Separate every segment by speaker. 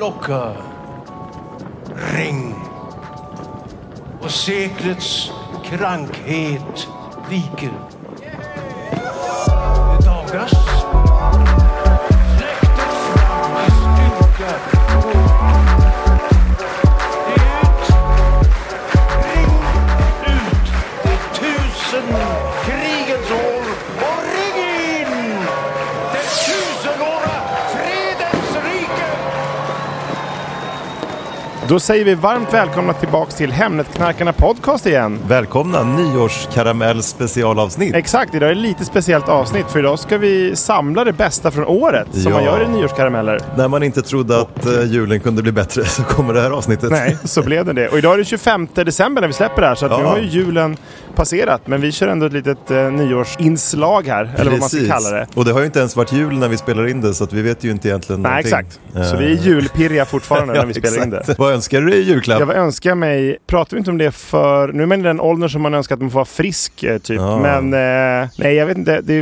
Speaker 1: Locker. Ring. Och seklets krankhet viker. Det dagas. Släktet fram i styrka. Ut. Ring ut det tusen krigens år och ring in det tusenåra fredens rike.
Speaker 2: Då säger vi varmt välkomna tillbaks till Hemnetknarkarna Podcast igen.
Speaker 3: Välkomna nyårskaramell specialavsnitt.
Speaker 2: Exakt, idag är det lite speciellt avsnitt för idag ska vi samla det bästa från året som man
Speaker 3: Ja.
Speaker 2: gör i nyårskarameller.
Speaker 3: När man inte trodde att eh, julen kunde bli bättre så kommer det här avsnittet.
Speaker 2: Nej, så blev det det. Och idag är det 25 december när vi släpper det här så att nu
Speaker 3: Ja.
Speaker 2: har ju julen passerat. Men vi kör ändå ett litet eh, nyårsinslag här, eller vad man ska
Speaker 3: Precis.
Speaker 2: kalla det.
Speaker 3: Och det har ju inte ens varit jul när vi spelar in det så att vi vet ju inte egentligen
Speaker 2: Nej,
Speaker 3: någonting.
Speaker 2: exakt. Så
Speaker 3: Eh,
Speaker 2: vi är julpirriga fortfarande när
Speaker 3: ja,
Speaker 2: vi spelar in det.
Speaker 3: exakt. Vad önskar du dig i julklapp?
Speaker 2: Jag önskar mig, pratar vi inte om det för, nu menar jag den åldern som man önskar att man får vara frisk eh, typ.
Speaker 3: Ja.
Speaker 2: Men eh, nej jag vet inte, det,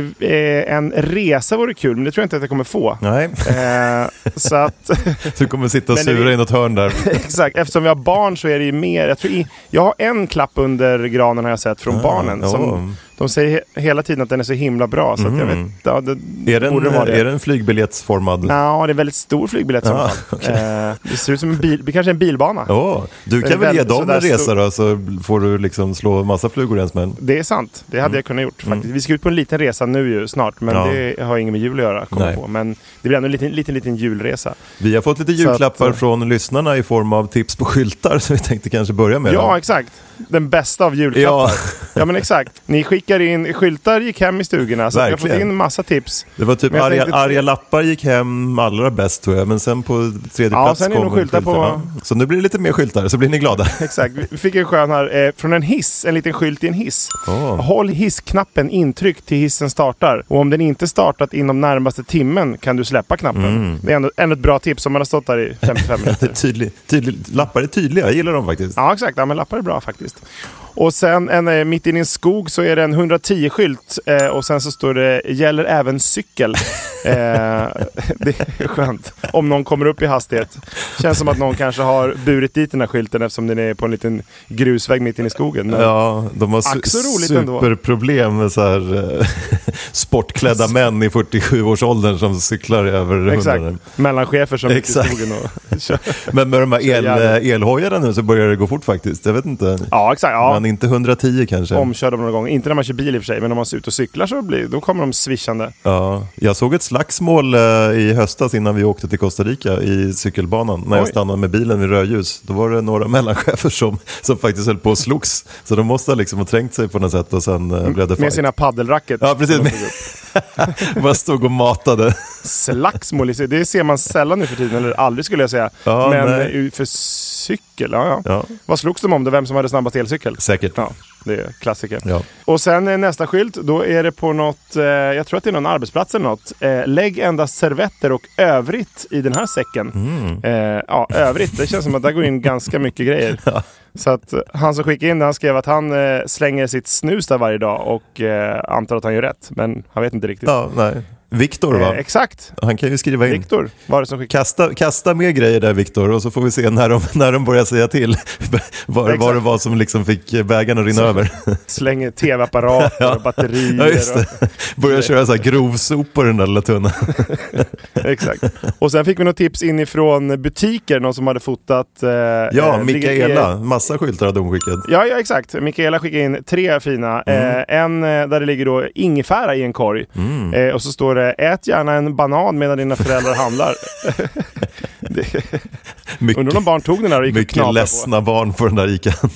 Speaker 2: eh, en resa vore kul men det tror jag inte att jag kommer få.
Speaker 3: Nej,
Speaker 2: Eh, så att,
Speaker 3: du kommer sitta och
Speaker 2: Men det-
Speaker 3: sura i något hörn där.
Speaker 2: exakt, eftersom vi har barn så är det ju mer, jag, tror i, jag har en klapp under granen har jag sett från
Speaker 3: Ah,
Speaker 2: barnen. Som,
Speaker 3: ja.
Speaker 2: De säger he- hela tiden att den är så himla bra så att jag
Speaker 3: Mm.
Speaker 2: vet, ja, det,
Speaker 3: Är den,
Speaker 2: borde vara det.
Speaker 3: Är den flygbiljettsformad?
Speaker 2: Nja, det är en väldigt stor flygbiljett i
Speaker 3: Ja,
Speaker 2: så fall. Eh, det ser ut som en bil, det kanske är en bilbana.
Speaker 3: Åh, du
Speaker 2: Den är
Speaker 3: kan väl ge
Speaker 2: väldigt
Speaker 3: dem
Speaker 2: sådär
Speaker 3: en resa
Speaker 2: stor.
Speaker 3: då så får du liksom slå massa flugor i en smäll.
Speaker 2: Det är sant. Det hade jag kunnat gjort faktiskt. Vi ska ut på en liten resa nu ju snart, men
Speaker 3: Mm. Ja.
Speaker 2: det har inget med jul att göra. Kommer
Speaker 3: Nej.
Speaker 2: jag på. Men det blir ändå en liten, liten, liten julresa.
Speaker 3: Vi har fått lite
Speaker 2: Så att,
Speaker 3: julklappar
Speaker 2: eh,
Speaker 3: från lyssnarna i form av tips på skyltar som vi tänkte kanske börja med.
Speaker 2: Ja,
Speaker 3: då.
Speaker 2: exakt. Den bästa av julklappar.
Speaker 3: ja,
Speaker 2: Ja. men exakt. Ni skickar in, skyltar gick hem i stugorna. Så vi har fått
Speaker 3: Verkligen.
Speaker 2: in massa tips.
Speaker 3: Det var typ
Speaker 2: Men jag
Speaker 3: arga,
Speaker 2: tänkte-
Speaker 3: arga lappar gick hem allra bäst tror jag, men sen på tredje
Speaker 2: Ja,
Speaker 3: plats
Speaker 2: sen är det
Speaker 3: kom
Speaker 2: nog skyltar på-
Speaker 3: skyltarna. Så nu blir det lite mer skyltar, så blir ni glada.
Speaker 2: Exakt. Vi fick en skön här eh, från en hiss, en liten skylt i en hiss.
Speaker 3: Åh.
Speaker 2: Håll hissknappen intryckt till hissen startar. Och om den inte startat inom närmaste timmen kan du släppa knappen.
Speaker 3: Mm.
Speaker 2: Det är ändå, ändå ett bra tips om man har stått där i 55 minuter.
Speaker 3: Tydlig, tydlig, lappar är tydliga, jag gillar dem faktiskt.
Speaker 2: Ja, exakt. Ja, men lappar är bra faktiskt. Och sen en, eh, mitt inne i en skog så är det en 110-skylt eh, och sen så står det “Gäller även cykel”. eh, det är skönt. Om någon kommer upp i hastighet. Känns som att någon kanske har burit dit den här skylten eftersom den är på en liten grusväg mitt inne i skogen. Men,
Speaker 3: Ja, de har
Speaker 2: Ack, så
Speaker 3: su-
Speaker 2: roligt ändå.
Speaker 3: superproblem med så här, eh, sportklädda män i 47-årsåldern som cyklar över
Speaker 2: exakt.
Speaker 3: hundraden.
Speaker 2: Mellanchefer som är ute i
Speaker 3: Exakt.
Speaker 2: skogen och kör.
Speaker 3: Men med de här el,
Speaker 2: järnet.
Speaker 3: elhojarna nu så börjar det gå fort faktiskt. Jag vet inte,
Speaker 2: Ja, exakt. Ja.
Speaker 3: men inte 110 kanske.
Speaker 2: Omkörd dem någon gång. Inte när man kör bil i och för sig, men om man är ute och cyklar så blir, då kommer de svischande.
Speaker 3: Ja, jag såg ett slagsmål eh, i höstas innan vi åkte till Costa Rica i cykelbanan. När jag
Speaker 2: Oj.
Speaker 3: stannade med bilen vid rödljus, då var det några mellanchefer som, som faktiskt höll på och slogs. Så de måste ha liksom ha trängt sig på något sätt och sen eh, blev det
Speaker 2: Mm, Med
Speaker 3: fight.
Speaker 2: sina paddelracket.
Speaker 3: Ja, precis.
Speaker 2: De tog upp.
Speaker 3: Bara stod och matade.
Speaker 2: slagsmål. i sig. Det ser man sällan nu för tiden, eller aldrig skulle jag säga.
Speaker 3: Ja,
Speaker 2: Men
Speaker 3: nej.
Speaker 2: eh, för cykel, ja, ja.
Speaker 3: Ja.
Speaker 2: Vad slogs de om då? Vem som hade snabbast elcykel?
Speaker 3: Säkert.
Speaker 2: Ja, det är klassiker.
Speaker 3: Ja.
Speaker 2: Och sen eh, nästa skylt, då är det på något, eh, jag tror att det är någon arbetsplats eller något. Eh, lägg endast servetter och övrigt i den här säcken.
Speaker 3: Mm.
Speaker 2: Eh, ja, övrigt, det känns som att där går in ganska mycket grejer. Så att eh, han som skickade in det, han skrev att han eh, slänger sitt snus där varje dag och eh, antar att han gör rätt. Men han vet inte riktigt.
Speaker 3: Ja, nej. Viktor va?
Speaker 2: Eh, exakt.
Speaker 3: Han kan ju skriva in.
Speaker 2: Viktor var det som skickade.
Speaker 3: Kasta, kasta mer grejer där Viktor och så får vi se när de, när de börjar säga till vad var det var som liksom fick bägaren att rinna över.
Speaker 2: Slänger tv-apparater och batterier.
Speaker 3: Ja, just det. Börjar köra så här grovsopor i den där lilla tunnan.
Speaker 2: Och, exakt. Och sen fick vi något tips inifrån butiker, någon som hade fotat... Eh,
Speaker 3: Ja,
Speaker 2: eh,
Speaker 3: Mikaela. Massa skyltar hade hon skickat.
Speaker 2: Ja, ja exakt. Mikaela skickade in tre fina.
Speaker 3: Mm.
Speaker 2: Eh, en eh, där det ligger då ingefära i en korg. Eh, och så står det ät gärna en banan medan dina föräldrar handlar. Undrar om
Speaker 3: Mycket,
Speaker 2: barn tog den där och gick och
Speaker 3: mycket
Speaker 2: knaprade på.
Speaker 3: ledsna barn på den där ICAn.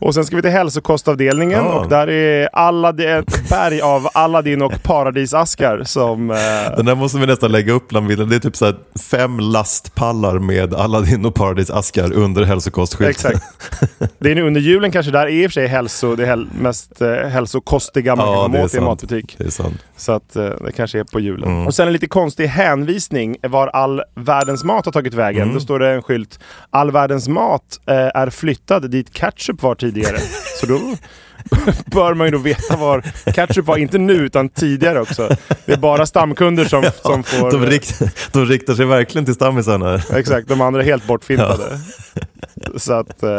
Speaker 2: Och sen ska vi till hälsokostavdelningen
Speaker 3: Ja.
Speaker 2: och där är Aladdin, ett berg av Aladdin och paradisaskar som... Eh,
Speaker 3: Den där måste vi nästan lägga upp bland bilderna. Det är typ så här fem lastpallar med Aladdin och Paradis-askar under hälsokostskylten.
Speaker 2: Exakt. Det är nu under julen kanske där är i och för sig hälso, det häl, mest eh, hälsokostiga man
Speaker 3: Ja,
Speaker 2: kan
Speaker 3: det
Speaker 2: komma
Speaker 3: är
Speaker 2: åt i en
Speaker 3: sant.
Speaker 2: matbutik.
Speaker 3: Mm. Det är sant.
Speaker 2: Så att eh, det kanske är på julen. Och sen en lite konstig hänvisning var all världens mat har tagit vägen.
Speaker 3: Mm.
Speaker 2: Då står det en skylt. All världens mat eh, är flyttad dit ketchup var tidigare. Så då bör man ju då veta var ketchup var. Inte nu utan tidigare också. Det är bara stamkunder som, som får...
Speaker 3: De, rikt, de riktar sig verkligen till stammisarna.
Speaker 2: Exakt, de andra är helt bortfiltade. Så att, eh,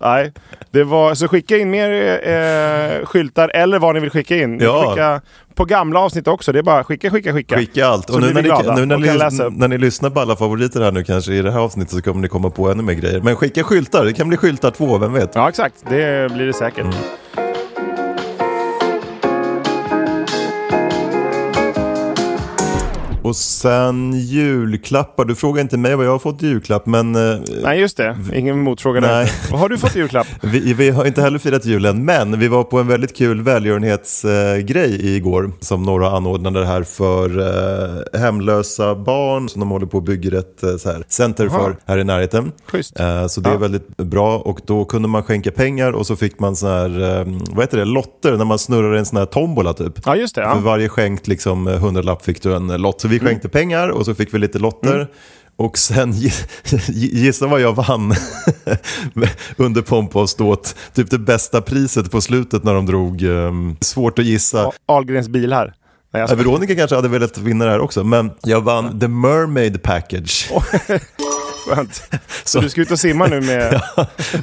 Speaker 2: nej. Det var, så skicka in mer eh, skyltar eller vad ni vill skicka in. Ni
Speaker 3: Ja.
Speaker 2: får Skicka, på gamla avsnitt också, det är bara skicka, skicka, skicka.
Speaker 3: Skicka allt.
Speaker 2: Så
Speaker 3: Och nu
Speaker 2: blir vi
Speaker 3: när ni,
Speaker 2: glada
Speaker 3: nu när,
Speaker 2: och kan läsa
Speaker 3: ni,
Speaker 2: upp.
Speaker 3: när ni lyssnar på alla favoriter här nu kanske i det här avsnittet så kommer ni komma på ännu mer grejer. Men skicka skyltar, det kan bli skyltar två, vem vet?
Speaker 2: Ja, exakt. Det blir det säkert.
Speaker 3: Mm. Och sen julklappar, du frågar inte mig vad jag har fått i julklapp men eh,
Speaker 2: Nej, just det. Ingen motfråga där.
Speaker 3: Nej.
Speaker 2: Vad har du fått i julklapp?
Speaker 3: vi, vi har inte heller firat julen. Men vi var på en väldigt kul välgörenhetsgrej igår som några anordnade här för eh, hemlösa barn som de håller på och bygger ett eh, så här, center för här i närheten.
Speaker 2: Schysst.
Speaker 3: Eh, så det är
Speaker 2: Ja.
Speaker 3: väldigt bra och då kunde man skänka pengar och så fick man sån här, eh, vad heter det, lotter när man snurrar en sån här tombola typ.
Speaker 2: Ja, just det.
Speaker 3: För
Speaker 2: Ja.
Speaker 3: varje skänkt liksom, eh, hundralapp fick du en eh, lott. Så vi skänkte pengar och så fick vi lite lotter. Och sen gi- gissa vad jag vann under pompa och ståt. Typ det bästa priset på slutet när de drog. ehm, svårt att gissa.
Speaker 2: Ahlgrens bil här. Nej, jag
Speaker 3: Eh,
Speaker 2: skojar.
Speaker 3: Veronica kanske hade velat vinna det här också. Men jag vann The Mermaid Package.
Speaker 2: Skönt. Så du ska ut och simma nu med...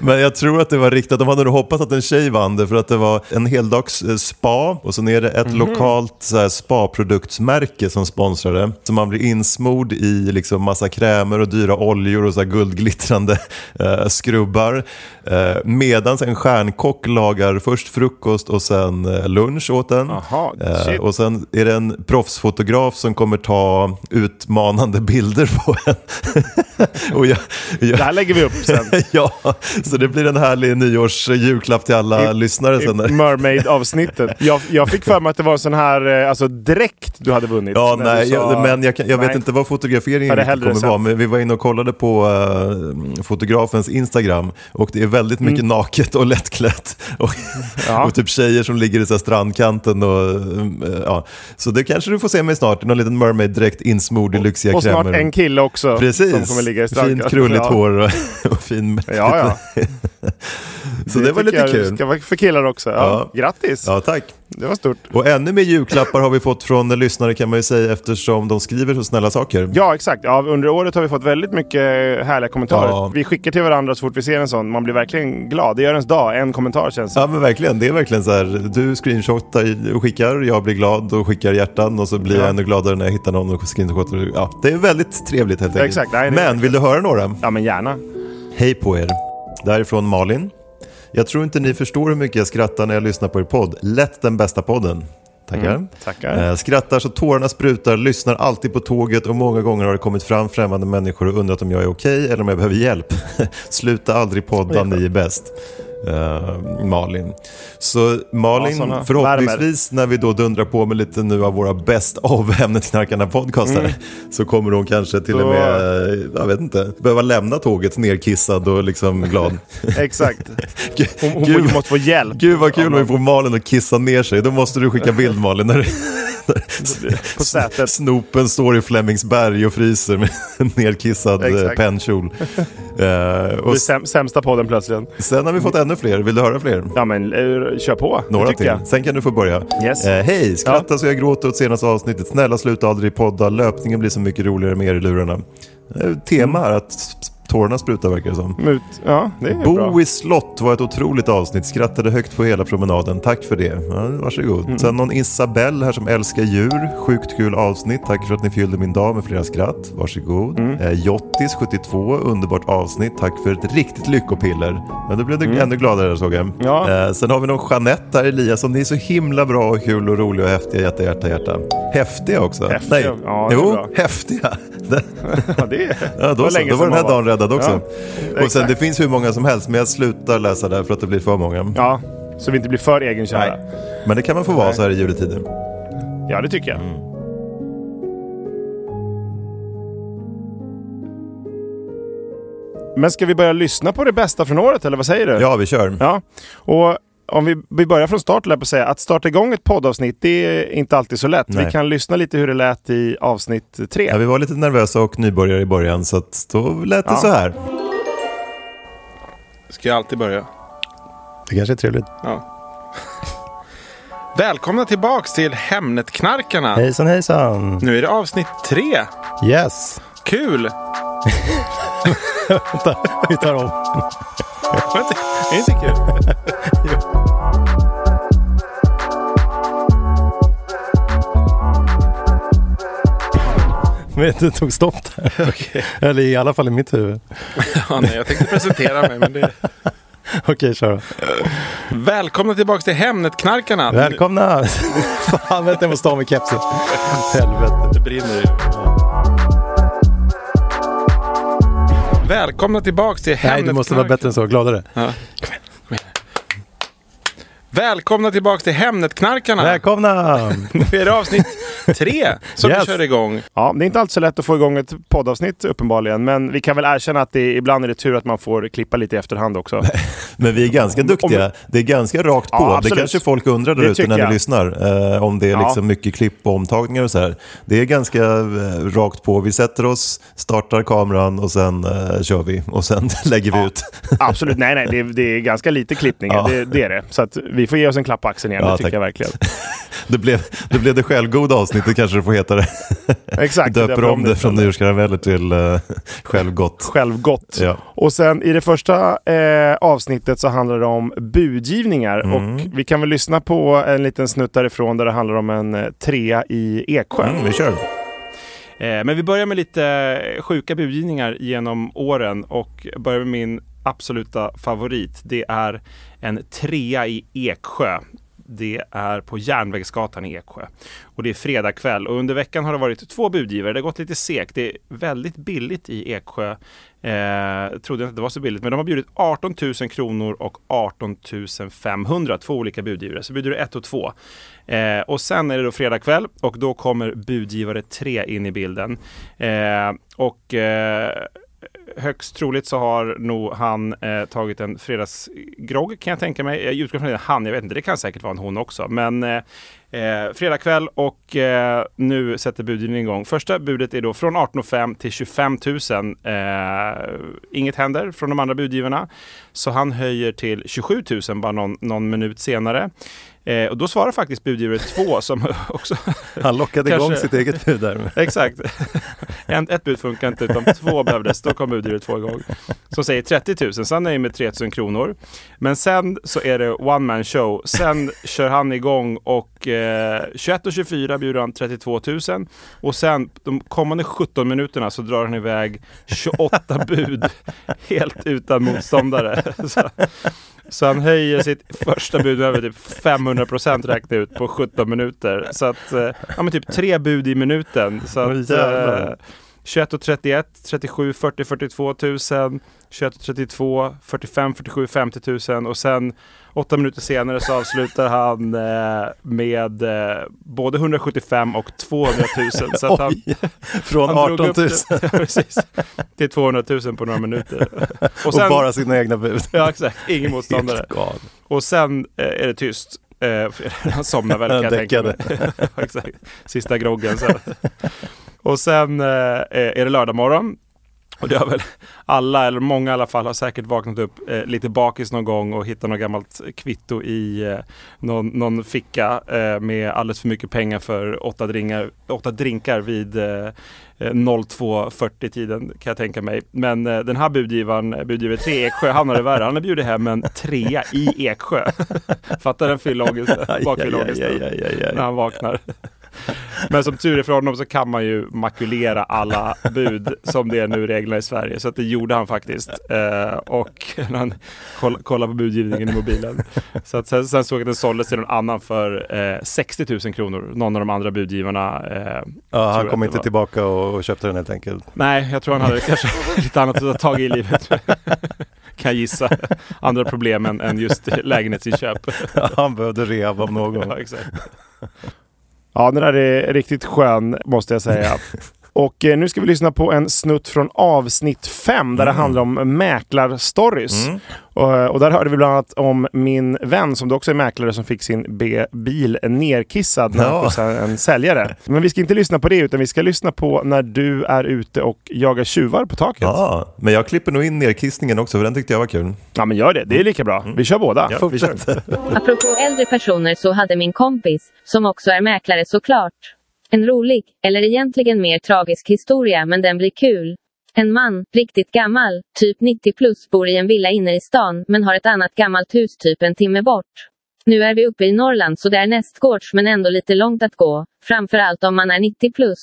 Speaker 3: Men jag tror att det var riktat. De hade nog hoppats att en tjej vann det för att det var en heldags eh, spa och sen är det
Speaker 2: Mhm.
Speaker 3: ett lokalt så här, spaproduktsmärke som sponsrade. Så man blir insmord i liksom, massa krämer och dyra oljor och så här, guldglittrande eh, skrubbar. Eh, Medan en stjärnkock lagar först frukost och sen eh, lunch åt en.
Speaker 2: Aha,
Speaker 3: Eh,
Speaker 2: shit.
Speaker 3: och sen är det en proffsfotograf som kommer ta utmanande bilder på en. och jag, jag,
Speaker 2: Det här lägger vi upp sen.
Speaker 3: ja, så det blir en härlig nyårsjulklapp till alla
Speaker 2: I-
Speaker 3: lyssnare sen. där.
Speaker 2: Mermaid-avsnittet. Jag, jag fick för mig att det var en sån här eh, alltså, dräkt du hade vunnit.
Speaker 3: Ja,
Speaker 2: När du
Speaker 3: nej,
Speaker 2: sa-
Speaker 3: jag, men jag, kan- jag vet
Speaker 2: Nej.
Speaker 3: inte vad fotograferingen
Speaker 2: Ja, det är
Speaker 3: riktigt
Speaker 2: hellre
Speaker 3: kommer
Speaker 2: sant.
Speaker 3: vara. Men vi var inne och kollade på eh, fotografens Instagram och det är väldigt mycket naket och lättklätt. Och,
Speaker 2: Mm. Ja.
Speaker 3: och typ tjejer som ligger i så här strandkanten. Och, eh, ja. Så det kanske du får se mig snart i någon liten mermaid direkt insmord i lyxiga
Speaker 2: Och snart
Speaker 3: krämer.
Speaker 2: en kille också.
Speaker 3: Precis,
Speaker 2: Som kommer ligga i strandkanten.
Speaker 3: fint krulligt
Speaker 2: Ja.
Speaker 3: hår och, och fin...
Speaker 2: Ja,
Speaker 3: ja. så det,
Speaker 2: tycker
Speaker 3: var lite
Speaker 2: jag
Speaker 3: kul.
Speaker 2: Ska vara för killar också. Ja.
Speaker 3: Ja.
Speaker 2: Grattis!
Speaker 3: Ja, tack.
Speaker 2: Det var stort.
Speaker 3: Och ännu mer julklappar har vi fått från lyssnare kan man ju säga eftersom de skriver så snälla saker.
Speaker 2: Ja, exakt. Ja, under året har vi fått väldigt mycket härliga kommentarer.
Speaker 3: Ja.
Speaker 2: Vi skickar till varandra så fort vi ser en sån. Man blir verkligen glad. Det gör ens dag. En kommentar känns det.
Speaker 3: Ja, men verkligen, det är verkligen så här, du screenshotar och skickar, jag blir glad och skickar hjärtan och så blir jag ännu gladare när jag hittar någon och screenshotar. Ja, det är väldigt trevligt helt enkelt.
Speaker 2: Exakt, nej, det är
Speaker 3: men vill du höra några?
Speaker 2: Ja, men gärna.
Speaker 3: Hej på er! Därifrån Malin. Jag tror inte ni förstår hur mycket jag skrattar när jag lyssnar på er podd. Lätt den bästa podden. Tackar.
Speaker 2: Mm, tackar.
Speaker 3: Eh, Skrattar så tårarna sprutar, lyssnar alltid på tåget och många gånger har det kommit fram främmande människor och undrat om jag är okej eller om jag behöver hjälp. Sluta aldrig podda, ni är bäst. Eh, Malin. Så
Speaker 2: Ja,
Speaker 3: Malin,
Speaker 2: såna
Speaker 3: förhoppningsvis när vi då dundrar på med lite nu av våra bäst av ämnesknarkarna podcaster så kommer hon kanske till
Speaker 2: Då-
Speaker 3: och med Eh, jag vet inte, behöva lämna tåget nerkissad och liksom glad.
Speaker 2: Exakt.
Speaker 3: Gud,
Speaker 2: Hon, hon
Speaker 3: gud,
Speaker 2: måste få hjälp.
Speaker 3: gud vad kul om vi får Malin att kissa ner sig. Då måste du skicka bild Malin när du,
Speaker 4: På sätet.
Speaker 3: Snopen står i Flemingsberg och fryser med en nedkissad eh,
Speaker 4: Exakt.
Speaker 3: pennkjol. Eh,
Speaker 4: Det
Speaker 3: och
Speaker 4: är säm- sämsta podden plötsligt.
Speaker 3: sen har vi fått ännu fler. Vill du höra fler?
Speaker 4: Ja men eh, kör på. det
Speaker 3: Några
Speaker 4: tycker
Speaker 3: till.
Speaker 4: jag.
Speaker 3: Sen kan du få börja.
Speaker 4: Yes.
Speaker 3: Eh, Hej, skratta så jag gråter åt senaste avsnittet. Snälla sluta aldrig podda. Löpningen blir så mycket roligare med er i lurarna. Eh, tema här att s- s- tårarna sprutar verkar det som.
Speaker 4: Mut. Ja, det är bra.
Speaker 3: Bo i slott var ett otroligt avsnitt. Skrattade högt på hela promenaden. Tack för det. Ja, varsågod.
Speaker 4: Mm.
Speaker 3: Sen någon Isabelle här som älskar djur. Sjukt kul avsnitt. Tack för att ni fyllde min dag med flera skratt. Varsågod.
Speaker 4: Mm.
Speaker 3: Eh, Jottis 72. Underbart avsnitt. Tack för ett riktigt lyckopiller. Ja, då blev du ännu gladare där, såg jag.
Speaker 4: Mm. Ja.
Speaker 3: Eh, sen har vi någon Jeanette här, Eliasson. Ni är så himla bra och kul och roliga och häftiga. Hjärta, hjärta, hjärta. Häftiga också.
Speaker 4: Häftiga.
Speaker 3: Nej.
Speaker 4: Ja, det är
Speaker 3: jo,
Speaker 4: bra.
Speaker 3: häftiga.
Speaker 4: Ja, det är...
Speaker 3: Ja, då,
Speaker 4: var
Speaker 3: så,
Speaker 4: länge
Speaker 3: då var
Speaker 4: sedan
Speaker 3: den här
Speaker 4: man
Speaker 3: dagen räddad också.
Speaker 4: Ja,
Speaker 3: och sen, det
Speaker 4: exakt.
Speaker 3: finns hur många som helst, men jag slutar läsa där för att det blir för många.
Speaker 4: Ja, så vi inte blir för egenkära.
Speaker 3: Nej. Men det kan man få vara så här i juletider.
Speaker 4: Ja, det tycker jag.
Speaker 3: Mm.
Speaker 4: Men ska vi börja lyssna på det bästa från året, eller vad säger du?
Speaker 3: Ja, vi kör.
Speaker 4: Ja, och om vi, vi börjar från start, lär på att säga. Att starta igång ett poddavsnitt, det är inte alltid så lätt.
Speaker 3: Nej.
Speaker 4: Vi kan lyssna lite hur det lät i avsnitt tre.
Speaker 3: Ja, vi var lite nervösa och nybörjare i början, så att då lät det
Speaker 4: Ja.
Speaker 3: så här.
Speaker 2: Ska jag alltid börja?
Speaker 3: Det kanske är trevligt.
Speaker 2: Ja. Välkomna tillbaks till Hemnet-knarkarna.
Speaker 3: Hejsan, hejsan.
Speaker 2: Nu är det avsnitt tre.
Speaker 3: Yes.
Speaker 2: Kul!
Speaker 3: Vi tar om.
Speaker 2: Det är inte kul.
Speaker 5: vet det tog stopp där. Eller i alla fall i mitt huvud.
Speaker 2: Ja, nej, jag tänkte presentera mig, men det...
Speaker 5: Okej, kör då.
Speaker 2: Välkomna tillbaks till Hemnet-knarkarna.
Speaker 5: Välkomna! Fan, vänta, jag måste ta av mig kepsen. Helvete.
Speaker 2: Det brinner ju. Välkomna tillbaks till
Speaker 5: Nej, du måste vara
Speaker 2: Hemnet-knarkarna.
Speaker 5: bättre än så. Gladare.
Speaker 2: Ja. Kom igen, kom igen. Välkomna tillbaks till Hemnet-knarkarna.
Speaker 5: Välkomna!
Speaker 2: Nu är det avsnitt tre som
Speaker 5: Yes.
Speaker 2: vi kör igång.
Speaker 4: Ja, det är inte alltid så lätt att få igång ett poddavsnitt uppenbarligen, men vi kan väl erkänna att det, ibland är det tur att man får klippa lite i efterhand också.
Speaker 3: Men vi är ganska duktiga. Det är ganska rakt på.
Speaker 4: Ja,
Speaker 3: det
Speaker 4: absolut.
Speaker 3: kanske folk undrar där
Speaker 4: Det
Speaker 3: ute
Speaker 4: tycker
Speaker 3: när ni
Speaker 4: jag.
Speaker 3: lyssnar. Eh, om det är
Speaker 4: Ja.
Speaker 3: liksom mycket klipp och omtagningar och så här. Det är ganska eh, rakt på. Vi sätter oss, startar kameran och sen eh, kör vi. Och sen lägger vi ut.
Speaker 4: Absolut, nej nej, det, det är ganska lite klippningar,
Speaker 3: Ja.
Speaker 4: det, det är det. Så att vi får ge oss en klapp på axeln igen,
Speaker 3: Ja,
Speaker 4: det tycker
Speaker 3: tack.
Speaker 4: jag verkligen.
Speaker 3: Det blev det, blev det självgoda avsnittet kanske det får heta det.
Speaker 4: Exakt.
Speaker 3: Döper om det från
Speaker 4: istället.
Speaker 3: nyårskarameller till eh, självgott.
Speaker 4: Självgott.
Speaker 3: Ja.
Speaker 4: Och sen i det första eh, avsnittet så handlar det om budgivningar
Speaker 3: Mm.
Speaker 4: och vi kan väl lyssna på en liten snutt därifrån där det handlar om en eh, trea i Eksjö.
Speaker 3: Mm, vi kör.
Speaker 2: Eh, Men vi börjar med lite sjuka budgivningar genom åren och börjar med min absoluta favorit. Det är en trea i Eksjö. Det är på Järnvägsgatan i Eksjö. Och det är fredag kväll och under veckan har det varit två budgivare. Det har gått lite segt. Det är väldigt billigt i Eksjö. Eh, trodde inte att det var så billigt, men de har bjudit 18 000 kronor och 18 500. Två olika budgivare, så bjuder du ett och två. Eh, och sen är det då fredag kväll och då kommer budgivare 3 in i bilden. Eh, och eh, högst troligt så har nog han eh, tagit en fredagsgrogg kan jag tänka mig. Jag utgår från att det är han, jag vet inte, det kan säkert vara en hon också. Men eh, eh, fredag kväll och eh, nu sätter budgivningen igång. Första budet är då från 18,5 till 25 000. Eh, inget händer från de andra budgivarna. Så han höjer till 27 000 bara någon, någon minut senare. Eh, och då svarar faktiskt budgivare 2 som också
Speaker 3: Han lockade
Speaker 2: Kanske-
Speaker 3: igång sitt eget bud där.
Speaker 2: Exakt. En, ett bud funkar inte utan två behövdes. Då kom budgivet två gånger. Som säger 30 000. Sen är det med 3 000 kronor. Men sen så är det one man show. Sen kör han igång och eh, 21 och 24 bjuder han 32 000. Och sen de kommande 17 minuterna så drar han iväg 28 bud helt utan motståndare. Så, så han höjer sitt första bud med över typ 500 procent räknat ut på 17 minuter. Så att, eh, ja men typ tre bud i minuten. Så
Speaker 3: Åh,
Speaker 2: att,
Speaker 3: jävlar.
Speaker 2: eh, 21 och 31, 37, 40, 42 000, 21 och 32, 45, 47, 50 000 och sen åtta minuter senare så avslutar han eh, med eh, både 175 och 200 000. Så att han,
Speaker 3: Oj, från
Speaker 2: han drog
Speaker 3: 18
Speaker 2: upp
Speaker 3: 000
Speaker 2: det- ja, precis, till 200 000 på några minuter.
Speaker 3: och,
Speaker 2: sen-
Speaker 3: bara sina egna bud.
Speaker 2: Ja exakt, ingen motståndare.
Speaker 3: Helt galet.
Speaker 2: Och sen eh, är det tyst.
Speaker 4: Eh, för han somnade väl kan jag tänka mig. Ja, exakt. Sista groggen. Så. här. Och sen eh, är det lördag morgon. Och det har väl alla, eller många i alla fall, har säkert vaknat upp eh, lite bakis någon gång och hittat något gammalt kvitto i eh, någon, någon ficka eh, med alldeles för mycket pengar för åtta, dringar, åtta drinkar vid eh, 02.40 tiden kan jag tänka mig. Men eh, den här budgivaren, eh, budgivare 3 i Eksjö, han har det värre. Han har bjudit hem en trea i Eksjö. Fattar den fyllaångesten, bakfyllaångesten när han vaknar. Men som tur är för honom så kan man ju makulera alla bud som det är nu reglerna i Sverige. Så att det gjorde han faktiskt. Eh, och när han koll, kollade på budgivningen i mobilen. Så att sen, sen såg jag att den såldes till någon annan för eh, 60 000 kronor. Någon av de andra budgivarna. Eh,
Speaker 3: Ja,
Speaker 4: tror jag
Speaker 3: han kom
Speaker 4: att
Speaker 3: inte
Speaker 4: det var.
Speaker 3: tillbaka och, och köpte den helt enkelt.
Speaker 4: Nej, jag tror han hade kanske lite annat att ta tag i i livet. kan jag gissa. Andra problem än, än just lägenhetsinköp.
Speaker 3: Han behövde rehab av någon.
Speaker 4: ja, exakt.
Speaker 2: Ja, den där är riktigt skön måste jag säga. Och eh, nu ska vi lyssna på en snutt från avsnitt 5 där det handlar om mäklarstories. Och, eh, och där hörde vi bland annat om min vän som då också är mäklare som fick sin be- bil nerkissad när han
Speaker 3: Ja.
Speaker 2: skjutsade en säljare. Men vi ska inte lyssna på det utan vi ska lyssna på när du är ute och jagar tjuvar på taket. Ja,
Speaker 3: Ja, men jag klipper nog in nerkissningen också, för den tyckte jag var kul.
Speaker 2: men gör det, det är lika bra. Vi kör båda.
Speaker 3: Ja, vi kör.
Speaker 5: Apropå äldre personer så hade min kompis, som också är mäklare såklart, en rolig, eller egentligen mer tragisk historia men den blir kul. En man, riktigt gammal, typ 90 plus, bor i en villa inne i stan men har ett annat gammalt hus typ en timme bort. Nu är vi uppe i Norrland så det är nästgårds men ändå lite långt att gå, framförallt om man är 90 plus.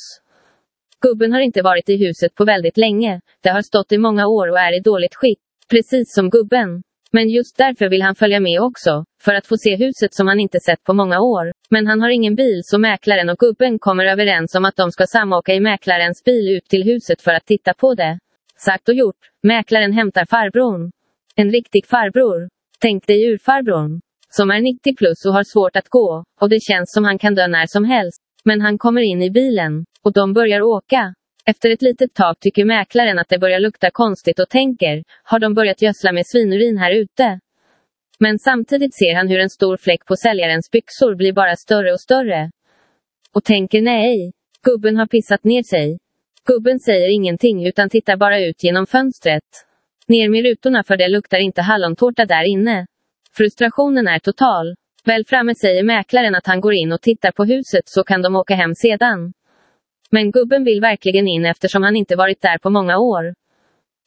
Speaker 5: Gubben har inte varit i huset på väldigt länge. Det har stått i många år och är i dåligt skick. Precis som gubben. Men just därför vill han följa med också, för att få se huset som han inte sett på många år. Men han har ingen bil så mäklaren och gubben kommer överens om att de ska samåka i mäklarens bil ut till huset för att titta på det. Sagt och gjort, mäklaren hämtar farbrorn. En riktig farbror. Tänk dig urfarbrorn. Som är 90 plus och har svårt att gå, och det känns som han kan dö när som helst. Men han kommer in i bilen, och de börjar åka. Efter ett litet tag tycker mäklaren att det börjar lukta konstigt och tänker, har de börjat gödsla med svinurin här ute? Men samtidigt ser han hur en stor fläck på säljarens byxor blir bara större och större. Och tänker nej, gubben har pissat ner sig. Gubben säger ingenting utan tittar bara ut genom fönstret. Ner med rutorna för det luktar inte hallontårta där inne. Frustrationen är total. Väl framme säger mäklaren att han går in och tittar på huset så kan de åka hem sedan. Men gubben vill verkligen in eftersom han inte varit där på många år.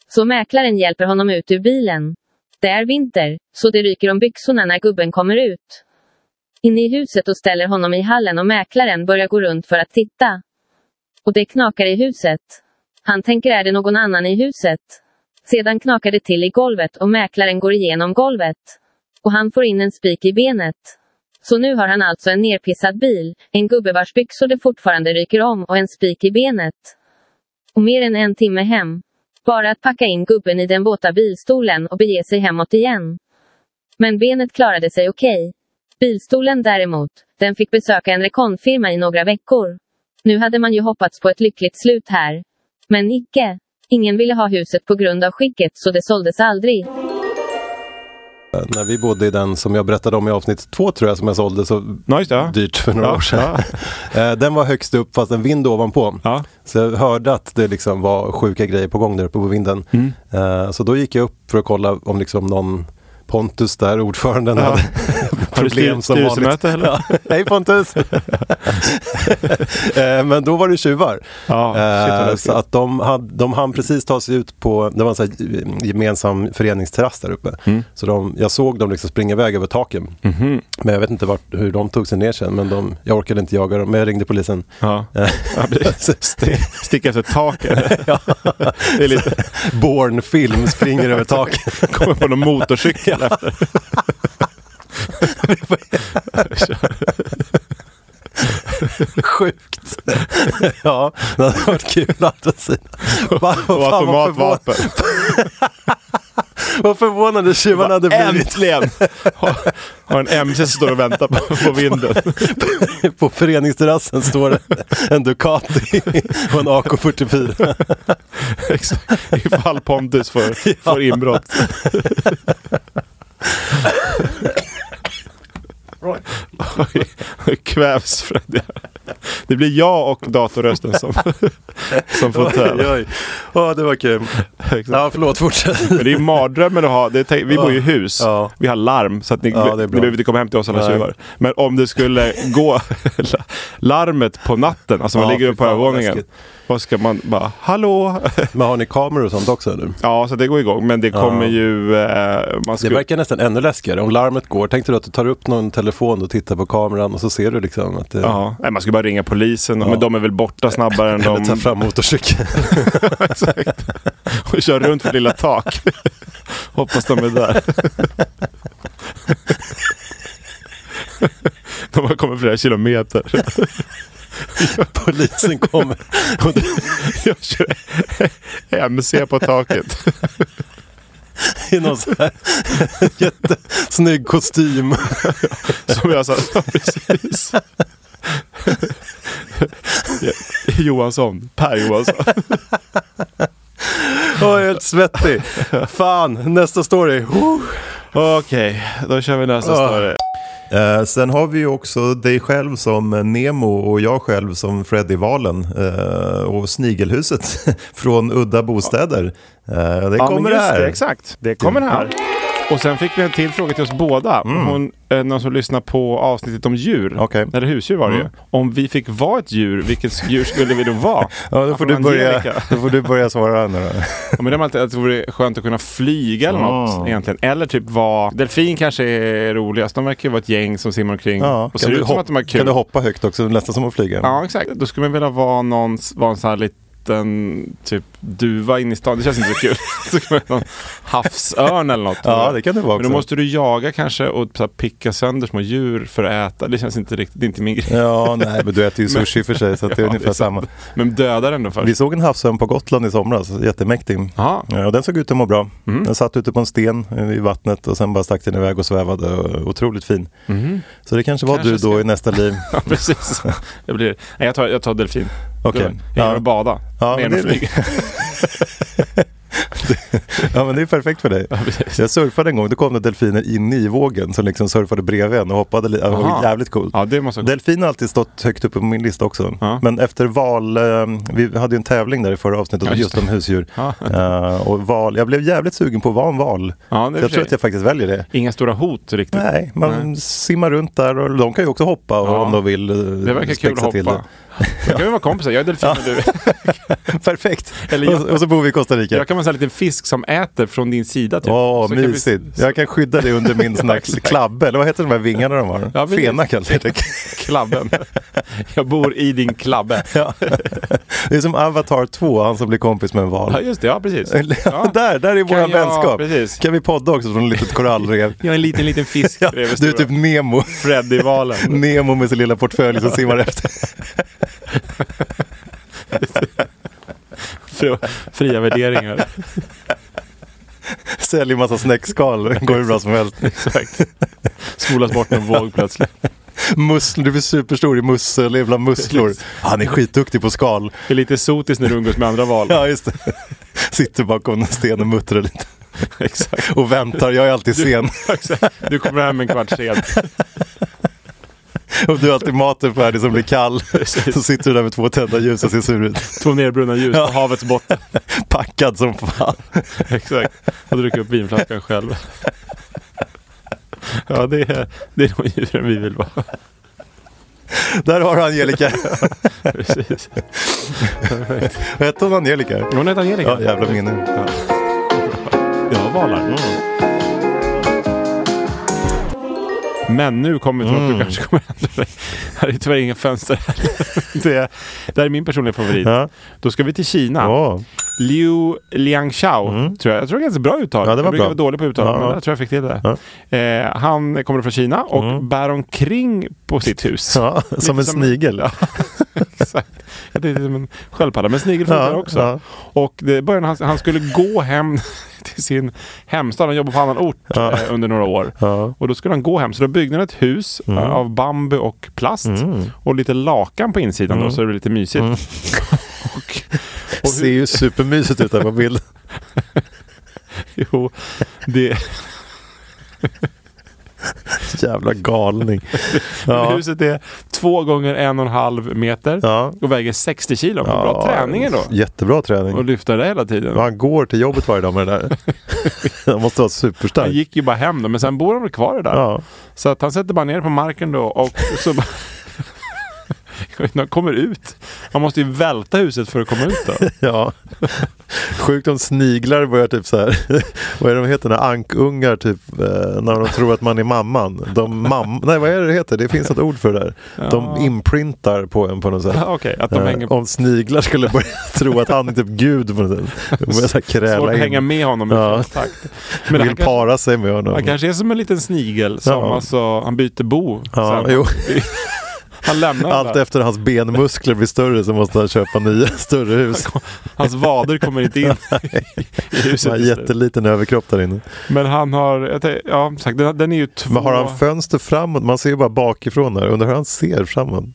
Speaker 5: Så mäklaren hjälper honom ut ur bilen. Det är vinter, så det ryker om byxorna när gubben kommer ut. Inne i huset och ställer honom i hallen och mäklaren börjar gå runt för att titta. Och det knakar i huset. Han tänker är det någon annan i huset? Sedan knakar det till i golvet och mäklaren går igenom golvet och han får in en spik i benet. Så nu har han alltså en nerpissad bil, en gubbe vars byxor det fortfarande ryker om och en spik i benet. Och mer än en timme hem. Bara att packa in gubben i den våta bilstolen och bege sig hemåt igen. Men benet klarade sig okej. Bilstolen däremot, den fick besöka en rekonfirma i några veckor. Nu hade man ju hoppats på ett lyckligt slut här. Men icke. Ingen ville ha huset på grund av skicket så det såldes aldrig.
Speaker 3: När vi bodde i den som jag berättade om i avsnitt två tror jag som jag sålde så
Speaker 2: Ja, just det. ja.
Speaker 3: dyrt för några
Speaker 2: Ja,
Speaker 3: år sedan. Eh, Den var högst upp fast en vind ovanpå.
Speaker 2: Ja.
Speaker 3: Så jag hörde att det liksom var sjuka grejer på gång där uppe på vinden.
Speaker 2: Mm.
Speaker 3: Eh, Så då gick jag upp för att kolla om liksom någon Pontus där, ordföranden, hade problem som vanligt.
Speaker 2: styrelsemöte eller?
Speaker 3: Hej Pontus! Eh, Men då var det tjuvar.
Speaker 2: Ja, shit, vad
Speaker 3: Eh,
Speaker 2: läskigt.
Speaker 3: så att de, hade, de hann precis ta sig ut på, det var en så här gemensam föreningsterrass där uppe.
Speaker 2: Mm.
Speaker 3: Så de, jag såg dem liksom springa iväg över taken.
Speaker 2: Mhm.
Speaker 3: Men jag vet inte vart, hur de tog sig ner sen, men de, jag orkade inte jaga dem. Men jag ringde polisen.
Speaker 2: Ja.
Speaker 3: Eh, så-
Speaker 2: Sticka efter taket.
Speaker 3: ja.
Speaker 2: Det är lite
Speaker 3: Born-film springer över taken.
Speaker 2: kommer på någon motorcykel efter.
Speaker 3: Sjukt! ja, det hade varit kul å andra sidan. Va- vad fan,
Speaker 2: Och
Speaker 3: vad
Speaker 2: automatvapen.
Speaker 3: förvån- Vad förvånade tjuvarna hade blivit
Speaker 2: Äntligen! Har, har en MC som står och väntar på, på vinden.
Speaker 3: på föreningsterrassen står det en Ducati och en AK44.
Speaker 2: Exakt. Ifall Pontus får, får inbrott. Oj, kvävs Freddy. Det blir jag och datorrösten som, som får
Speaker 3: Oj,
Speaker 2: tävla.
Speaker 3: oj. Ja, det var kul.
Speaker 2: Exakt.
Speaker 3: Ja, förlåt, fortsätt.
Speaker 2: Men det är ju mardrömmen att ha. Det är, tänk- vi bor ju i hus.
Speaker 3: Ja.
Speaker 2: Vi har larm så att ni,
Speaker 3: Ja, det är
Speaker 2: ni
Speaker 3: bra.
Speaker 2: behöver inte komma hem till oss alla
Speaker 3: Nej.
Speaker 2: tjuvar. Men om det skulle gå larmet på natten, alltså man
Speaker 3: Ja,
Speaker 2: ligger
Speaker 3: fy
Speaker 2: uppe på
Speaker 3: fan, vad
Speaker 2: övervåningen.
Speaker 3: läskigt.
Speaker 2: Vad ska man bara, hallå?
Speaker 3: Men har ni kameror och sånt också? Eller?
Speaker 2: Ja, så det går igång. Men det kommer ju... Eh, man
Speaker 3: Det
Speaker 2: skulle,
Speaker 3: verkar nästan ännu läskigare. Om larmet går, tänkte du att du tar upp någon telefon och tittar på kameran och så ser du liksom att det...
Speaker 2: ja, nej, man skulle bara ringa polisen.
Speaker 3: Ja.
Speaker 2: Men de är väl borta snabbare än
Speaker 3: Eller tar
Speaker 2: de...
Speaker 3: fram motorcykeln.
Speaker 2: Exakt. Och kör runt för lilla tak. Hoppas de är där. De har kommit flera kilometer.
Speaker 3: Polisen kommer. Och du,
Speaker 2: Jag kör MC på taket.
Speaker 3: I någon så här jättesnygg kostym.
Speaker 2: Som jag sa, ja, precis. Johansson, Per Johansson.
Speaker 3: Och helt svettig. Fan, nästa story.
Speaker 2: Okej, då kör vi nästa
Speaker 3: Ja.
Speaker 2: story.
Speaker 3: Eh, sen har vi ju också dig själv som Nemo och jag själv som Freddy Valen eh, och Snigelhuset från Udda Bostäder. Eh, det
Speaker 2: Ja, men
Speaker 3: kommer
Speaker 2: just
Speaker 3: här. Mm.
Speaker 2: Det, exakt, det kommer här. Och sen fick vi en till fråga till oss båda. Hon, eh, någon som lyssnar på avsnittet om djur,
Speaker 3: Mm. Okej. Mm.
Speaker 2: eller husdjur var det ju. Om vi fick vara ett djur, vilket djur skulle vi då vara?
Speaker 3: Ja, då får, du
Speaker 2: Angelica.
Speaker 3: börja, då får du börja svara nu då.
Speaker 2: Ja, men det är alltid att det vore skönt att kunna flyga eller
Speaker 3: Ah.
Speaker 2: något egentligen. Eller typ vara... Delfin kanske är roligast. De verkar ju vara ett gäng som simmar omkring
Speaker 3: Ja,
Speaker 2: och
Speaker 3: kan,
Speaker 2: ser
Speaker 3: du
Speaker 2: ut som
Speaker 3: hoppa,
Speaker 2: att de har kul.
Speaker 3: kan du hoppa högt också? Nästan som att flyga.
Speaker 2: Ja, exakt. Mm. Då skulle man vilja vara någon, vara en sån här liten typ duva inne i stan. Det känns inte så kul. så kan man vara någon havsörn eller något.
Speaker 3: Ja, det kan det vara
Speaker 2: Men då
Speaker 3: också.
Speaker 2: måste du jaga kanske och så här, picka sönder små djur för att äta. Det känns inte riktigt, det är inte min grej.
Speaker 3: Ja, nej, men du äter ju sushi för sig så att det är
Speaker 2: Ja,
Speaker 3: ungefär
Speaker 2: det är
Speaker 3: samma.
Speaker 2: Men döda den då först.
Speaker 3: Vi såg en havsörn på Gotland i somras, jättemäktig.
Speaker 2: Ja.
Speaker 3: Ja, och den såg ut att må bra.
Speaker 2: Mm.
Speaker 3: Den satt ute på en sten eh, i vattnet och sen bara stack den iväg och svävade. Och otroligt fin. Så det kanske
Speaker 2: Mm-hmm.
Speaker 3: var
Speaker 2: Kanske
Speaker 3: du då
Speaker 2: ska-
Speaker 3: i nästa liv.
Speaker 2: Ja, precis. Det blir, nej, jag, tar, jag tar delfin.
Speaker 3: Okej.
Speaker 2: Jag gillar
Speaker 3: Ja.
Speaker 2: att bada.
Speaker 3: Ja,
Speaker 2: mer än
Speaker 3: men
Speaker 2: att
Speaker 3: det är-
Speaker 2: flyga.
Speaker 3: ja, men det är perfekt för dig. jag surfade en gång, då kom det delfiner in i vågen som liksom surfade bredvid en och hoppade. Li- det var
Speaker 2: Aha.
Speaker 3: jävligt coolt.
Speaker 2: Ja, det måste jag...
Speaker 3: Delfin har alltid stått högt upp på min lista också.
Speaker 2: Ja.
Speaker 3: Men efter val, eh, vi hade ju en tävling där i förra avsnittet
Speaker 2: Ja, just
Speaker 3: just om husdjur.
Speaker 2: Ja.
Speaker 3: Eh, och val, jag blev jävligt sugen på att vara en val.
Speaker 2: Ja, det är
Speaker 3: Så jag tror
Speaker 2: för-
Speaker 3: att jag faktiskt väljer det.
Speaker 2: Inga stora hot riktigt.
Speaker 3: Nej, man simmar runt där och de kan ju också hoppa
Speaker 2: Ja.
Speaker 3: om de vill. eh,
Speaker 2: Det verkar kul att
Speaker 3: spexa till
Speaker 2: hoppa. Då kan vi vara kompisar. Jag är delfin och du
Speaker 3: det. Perfekt!
Speaker 2: Eller jag-
Speaker 3: och, så- och så bor vi i Costa Rica.
Speaker 2: Jag kan vara en sån här liten fisk som äter från din sida. Typ.
Speaker 3: Åh,
Speaker 2: Så kan vi-
Speaker 3: mysigt. Jag kan skydda dig under min sån här klabbe, eller vad heter de här vingarna de har?
Speaker 2: Ja, precis.
Speaker 3: Fena kallar det.
Speaker 2: Klabben. Jag bor i din klabbe.
Speaker 3: Ja. Det är som Avatar 2, han som blir kompis med en val.
Speaker 2: Ja, just det. Ja, precis. Ja.
Speaker 3: där, där är
Speaker 2: Kan
Speaker 3: våran
Speaker 2: jag-
Speaker 3: vänskap.
Speaker 2: precis.
Speaker 3: Kan vi podda också från ett litet korallrev?
Speaker 2: Jag är en liten, liten fisk
Speaker 3: Ja,
Speaker 2: bredvid
Speaker 3: du är
Speaker 2: stora.
Speaker 3: typ Nemo.
Speaker 2: Freddy-valen.
Speaker 3: Nemo med sin lilla portfölj som simmar efter.
Speaker 2: Fri- Fria värderingar.
Speaker 3: Säljer massa snäckskal. Går hur bra som helst.
Speaker 2: Exakt. Spolas bort med en våg plötsligt.
Speaker 3: Musslor, du blir superstor i mussel, jävla musslor. Han är skitduktig på skal.
Speaker 2: Det är lite sotiskt när du umgås med andra val.
Speaker 3: Ja, just det. Sitter bakom en sten och muttrar lite.
Speaker 2: Exakt.
Speaker 3: Och väntar, jag är alltid sen.
Speaker 2: Exakt. Du kommer hem en kvart sent.
Speaker 3: Och du har alltid maten färdig som blir kall. Så sitter du där med två tända ljus och ser sur ut.
Speaker 2: Två nedbrunna ljus
Speaker 3: Ja.
Speaker 2: på havets botten.
Speaker 3: Packad som fan.
Speaker 2: Exakt. Och dricker upp vinflaskan själv. Ja, det är, det är de djuren vi vill vara.
Speaker 3: Där har du Angelica.
Speaker 2: Precis.
Speaker 3: Hette hon Angelica?
Speaker 2: Hon heter Angelica.
Speaker 3: Ja, jävla minne.
Speaker 2: Ja, valar. Men nu kommer vi till
Speaker 3: Mm.
Speaker 2: något du kanske kommer ändra dig. Här är tyvärr inga fönster heller. det, det här är min personliga favorit.
Speaker 3: Ja.
Speaker 2: Då ska vi till Kina.
Speaker 3: Ja. Mm.
Speaker 2: Liu Liangshao, tror jag. Jag tror det är ganska bra uttal.
Speaker 3: Ja, det var
Speaker 2: jag brukar
Speaker 3: bra.
Speaker 2: vara dålig på uttal,
Speaker 3: Ja,
Speaker 2: men
Speaker 3: ja.
Speaker 2: jag tror jag fick till det. Eh, han kommer från Kina och
Speaker 3: Mm.
Speaker 2: bär omkring på sitt hus.
Speaker 3: Ja, som en
Speaker 2: som-
Speaker 3: snigel.
Speaker 2: Exakt. Jag tänkte som en sköldpadda, men snigel funkar
Speaker 3: Ja,
Speaker 2: också.
Speaker 3: ja.
Speaker 2: Och det började, han, han skulle gå hem till sin hemstad, han jobbade på annan ort eh, under några år. Och då skulle han gå hem, så då byggde han ett hus
Speaker 3: Mm.
Speaker 2: eh, av bambu och plast och lite lakan på insidan
Speaker 3: Mm.
Speaker 2: då, så det blev lite mysigt. och, och
Speaker 3: Ser ju supermysigt ut där på bild.
Speaker 2: Jo, det...
Speaker 3: Jävla galning.
Speaker 2: Men
Speaker 3: Ja.
Speaker 2: Huset är två gånger en och en halv meter
Speaker 3: Ja.
Speaker 2: och väger 60 kilo. Men Bra träning ändå.
Speaker 3: Jättebra
Speaker 2: Och
Speaker 3: träning.
Speaker 2: lyfta det hela tiden.
Speaker 3: Och Han går till jobbet varje dag med det där. Han måste vara
Speaker 2: Han
Speaker 3: superstark.
Speaker 2: gick ju bara hem då, men sen bor han väl kvar där.
Speaker 3: Ja.
Speaker 2: Så att han sätter bara ner på marken då och så bara... Jag vet inte, han kommer ut. Han måste ju välta huset för att komma ut då.
Speaker 3: Ja. Sjukt om sniglar börjar typ så här. Vad är det de heter? När ankungar typ. eh, När de tror att man är mamman. De mam Nej vad är det det heter? Det finns ett ord för det där. De inprintar på en på något sätt.
Speaker 2: Ja, Ah, Okej, att de
Speaker 3: Eh,
Speaker 2: hänger på.
Speaker 3: Om sniglar skulle börja tro att han är typ gud på något sätt. De börjar så här
Speaker 2: Svårt
Speaker 3: kräla
Speaker 2: att
Speaker 3: in.
Speaker 2: hänga med honom i
Speaker 3: Ja.
Speaker 2: takt. Men
Speaker 3: Men
Speaker 2: han
Speaker 3: vill
Speaker 2: kanske,
Speaker 3: para sig med honom.
Speaker 2: han kanske är som en liten snigel som
Speaker 3: Ja.
Speaker 2: alltså, han byter bo.
Speaker 3: Ja,
Speaker 2: sen.
Speaker 3: jo.
Speaker 2: Han lämnar den
Speaker 3: Allt
Speaker 2: där.
Speaker 3: efter hans benmuskler blir större så måste han köpa nya större hus.
Speaker 2: Hans vader kommer inte in i
Speaker 3: Han
Speaker 2: huset.
Speaker 3: har
Speaker 2: till slut.
Speaker 3: jätteliten överkropp där inne.
Speaker 2: Men han har, jag tänk, ja sagt, den, den är ju två...
Speaker 3: Men har han fönster framåt? Man ser ju bara bakifrån där. Undrar hur han ser framåt.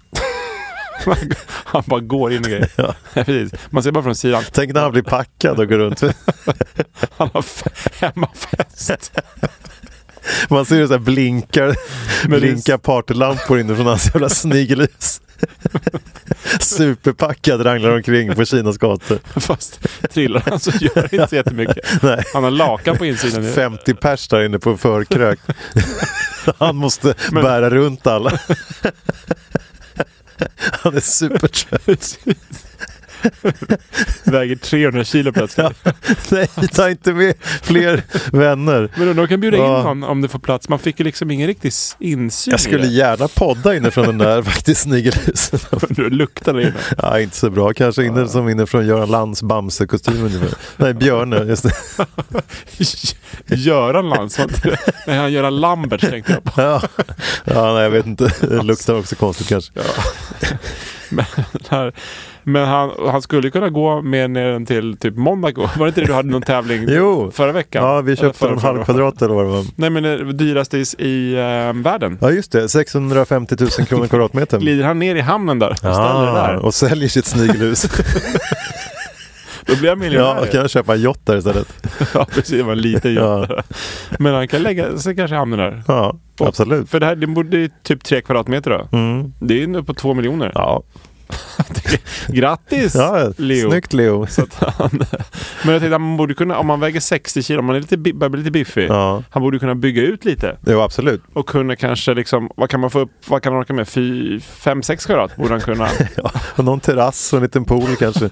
Speaker 2: han bara går in i grejer. ja. precis. Man ser bara från sidan.
Speaker 3: Tänk när han blir packad och går runt.
Speaker 2: Han har f- hemmafest.
Speaker 3: Man ser hur så här blinkar,
Speaker 2: Men det är-
Speaker 3: blinkar partylampor inifrån hans jävla snigelhus. Superpackad ranglar omkring på Kinas gator.
Speaker 2: Fast trillar han så gör det inte så jättemycket.
Speaker 3: Nej.
Speaker 2: Han har lakan på insidan. nu.
Speaker 3: 50 pers där inne på en förkrök. Han måste
Speaker 2: Men-
Speaker 3: bära runt alla. Han är supertrött.
Speaker 2: Väger 300 kilo plötsligt.
Speaker 3: Nej, ta inte med fler vänner.
Speaker 2: Men de kan bjuda
Speaker 3: Ja.
Speaker 2: in någon om det får plats. Man fick ju liksom ingen riktig s- insyn
Speaker 3: Jag skulle
Speaker 2: i det.
Speaker 3: gärna podda inifrån den där faktiskt snigelhusen.
Speaker 2: Du luktar där inne.
Speaker 3: Ja, inte så bra. Kanske inne som inne från Göran Lands Bamse-kostym ungefär. Nej, Björne. Just det.
Speaker 2: Göran Landsman. Nej, han Göran Lambert tänkte jag på.
Speaker 3: Ja. ja, nej jag vet inte. Det luktar också konstigt kanske.
Speaker 2: Här. Men han, han skulle kunna gå med ner den till typ Monaco. Var det inte det du hade någon tävling
Speaker 3: Jo.
Speaker 2: förra veckan?
Speaker 3: Ja, vi
Speaker 2: Eller
Speaker 3: köpte
Speaker 2: förra-
Speaker 3: en
Speaker 2: förra-
Speaker 3: halv kvadrat eller vad det var.
Speaker 2: Nej men det dyraste i, i eh, världen.
Speaker 3: Ja, just det. 650 000 kronor kvadratmetern.
Speaker 2: Glider han ner i hamnen där och ställer det
Speaker 3: Ah,
Speaker 2: där.
Speaker 3: och säljer sitt snigelhus.
Speaker 2: Då blir han
Speaker 3: ja,
Speaker 2: miljonär.
Speaker 3: och kan köpa en yacht där istället.
Speaker 2: Ja, precis. Det var en liten
Speaker 3: Ja.
Speaker 2: jätte. Men han kan lägga sig kanske i hamnen där.
Speaker 3: Ja, absolut.
Speaker 2: För det här det borde ju typ tre kvadratmeter då.
Speaker 3: Mm.
Speaker 2: Det är ju nu på två miljoner.
Speaker 3: Ja,
Speaker 2: Grattis
Speaker 3: ja
Speaker 2: Leo!
Speaker 3: snyggt Leo.
Speaker 2: Men jag tänkte att man borde kunna, om man väger 60 kilo, om man är lite, bi- börjar bli lite biffig.
Speaker 3: Ja.
Speaker 2: Han borde kunna bygga ut lite
Speaker 3: Jo, absolut.
Speaker 2: och kunna kanske liksom, vad kan man få upp, vad kan han orka med? 5-6 kvadrat borde han kunna
Speaker 3: Ja. Och någon terrass och en liten pool kanske.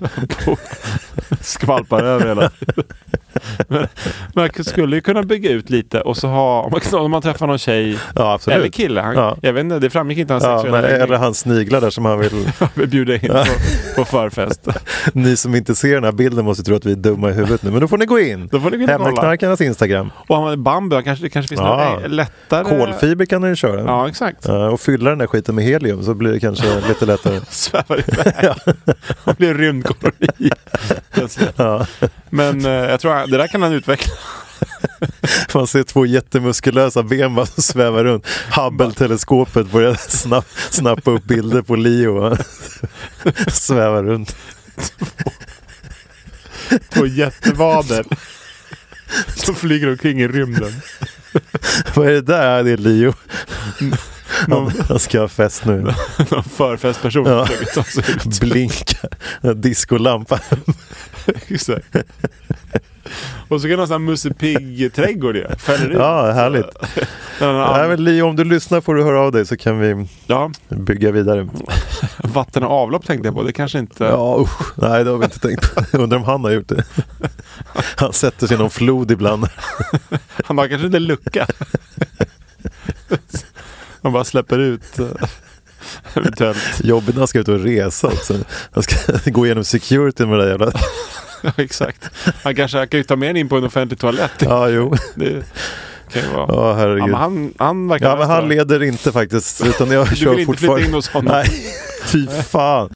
Speaker 2: skvalpar över hela men, Man skulle ju kunna bygga ut lite och så ha, om man, om man träffar någon tjej
Speaker 3: Ja, absolut.
Speaker 2: eller kille. Han,
Speaker 3: Ja.
Speaker 2: Jag vet inte, det framgick inte hans
Speaker 3: Ja,
Speaker 2: sexuella
Speaker 3: men, eller
Speaker 2: läggning.
Speaker 3: han sniglar där som han vill.
Speaker 2: Vi bjuder in på, på förfest.
Speaker 3: Ni som inte ser den här bilden måste tro att vi är dumma i huvudet nu. Men då får ni gå in.
Speaker 2: Då får ni gå in och kolla.
Speaker 3: Hemmaknarkarnas Instagram.
Speaker 2: Och han hade bambu, han kanske, det kanske finns
Speaker 3: Ja.
Speaker 2: några lättare...
Speaker 3: Kolfiber kan ni köra.
Speaker 2: Ja, exakt.
Speaker 3: Eh, Och fylla den där skiten med helium så blir det kanske lite lättare.
Speaker 2: Svävar iväg. Han blir en rymdkoloni.
Speaker 3: Ja.
Speaker 2: Men eh, jag tror han, det där kan han utveckla.
Speaker 3: Man ser två jättemuskulösa ben bara som svävar runt. Hubble-teleskopet börjar snapp, snappa upp bilder på Leo. va? svävar runt.
Speaker 2: Två jättevader. Som flyger omkring i rymden.
Speaker 3: Vad är det där? Ja, Det är Leo.
Speaker 2: Mm. Någon,
Speaker 3: Han ska ha fest nu.
Speaker 2: någon förfestperson
Speaker 3: Ja.
Speaker 2: försöker ta sig ut.
Speaker 3: Blinka. Diskolampa.
Speaker 2: Exakt. Och så kan han ha sån här Musse Pigg-trädgård ju. Fäller ut.
Speaker 3: Ja, härligt.
Speaker 2: Den här-
Speaker 3: Nej, men Leo, om du lyssnar får du höra av dig så kan vi
Speaker 2: ja,
Speaker 3: bygga vidare.
Speaker 2: vatten och avlopp tänkte jag på. Det kanske inte...
Speaker 3: Ja, usch. Nej, det har vi inte tänkt på. Undrar om han har gjort det. Han sätter sig i någon flod ibland.
Speaker 2: Han har kanske inte lucka. Han bara släpper ut. eh, Eventuellt.
Speaker 3: Jobbigt när han ska ut och resa också. Han ska gå igenom security med det där jävla...
Speaker 2: Ja, exakt. Han kanske kan ju ta med en in på en offentlig toalett.
Speaker 3: Ja, jo.
Speaker 2: Det kan ju vara.
Speaker 3: Ja,
Speaker 2: Ja, men
Speaker 3: herregud.
Speaker 2: han, han verkar
Speaker 3: Ja, men han
Speaker 2: vara-
Speaker 3: leder inte faktiskt. Utan jag
Speaker 2: Du vill
Speaker 3: kör
Speaker 2: inte flytta
Speaker 3: fortfarande.
Speaker 2: in hos honom.
Speaker 3: Nej, fy fan.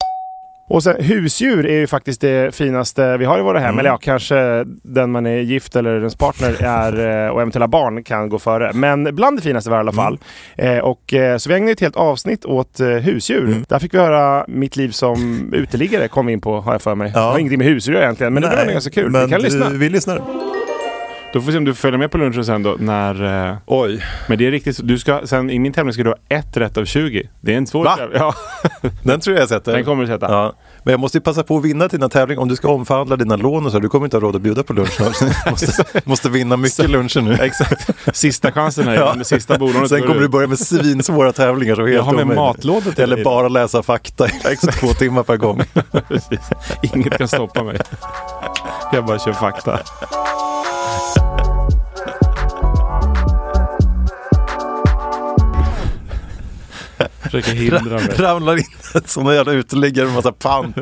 Speaker 6: Och sen, husdjur är ju faktiskt det finaste vi har i våra
Speaker 3: Mm.
Speaker 6: hem. Eller ja, kanske den man är gift eller ens partner är eh, och eventuella barn kan gå före. Men bland det finaste var det i alla
Speaker 3: Mm.
Speaker 6: fall. Eh, och, eh, så vi ägnade ett helt avsnitt åt eh, husdjur.
Speaker 3: Mm.
Speaker 6: Där fick vi höra mitt liv som uteliggare kom vi in på har jag för mig.
Speaker 3: Ja.
Speaker 6: Det har ingenting med husdjur att göra egentligen, men det var ändå ganska kul.
Speaker 3: Men
Speaker 6: vi kan lyssna.
Speaker 3: Vi lyssnar.
Speaker 2: Då får vi se om du följer med på lunchen sen då när... eh,
Speaker 3: Oj.
Speaker 2: Men det är riktigt så- du ska, sen i min tävling ska du ha ett rätt av 20. Det är en svår
Speaker 3: Va?
Speaker 2: tävling. Ja,
Speaker 3: Den tror jag jag sätter.
Speaker 2: den kommer du sätta.
Speaker 3: Ja. Men jag måste ju passa på att vinna till dina tävlingar. Om du ska omförhandla dina lån och så, här, du kommer inte ha råd att bjuda på lunch. snart. måste, måste vinna mycket luncher nu. Exakt.
Speaker 2: Sista chansen här, ja. sista bolånet.
Speaker 3: Sen
Speaker 2: går
Speaker 3: kommer
Speaker 2: ut.
Speaker 3: du börja med svinsvåra tävlingar. Så helt
Speaker 2: har med
Speaker 3: omöjligt.
Speaker 2: matlådor till dig
Speaker 3: Eller
Speaker 2: då.
Speaker 3: bara läsa fakta i två timmar per gång.
Speaker 2: Precis. Inget kan stoppa mig. Jag bara kör fakta. Försöker hindra mig.
Speaker 3: Ramlar in ett sånt jävla uteliggare med massa pant.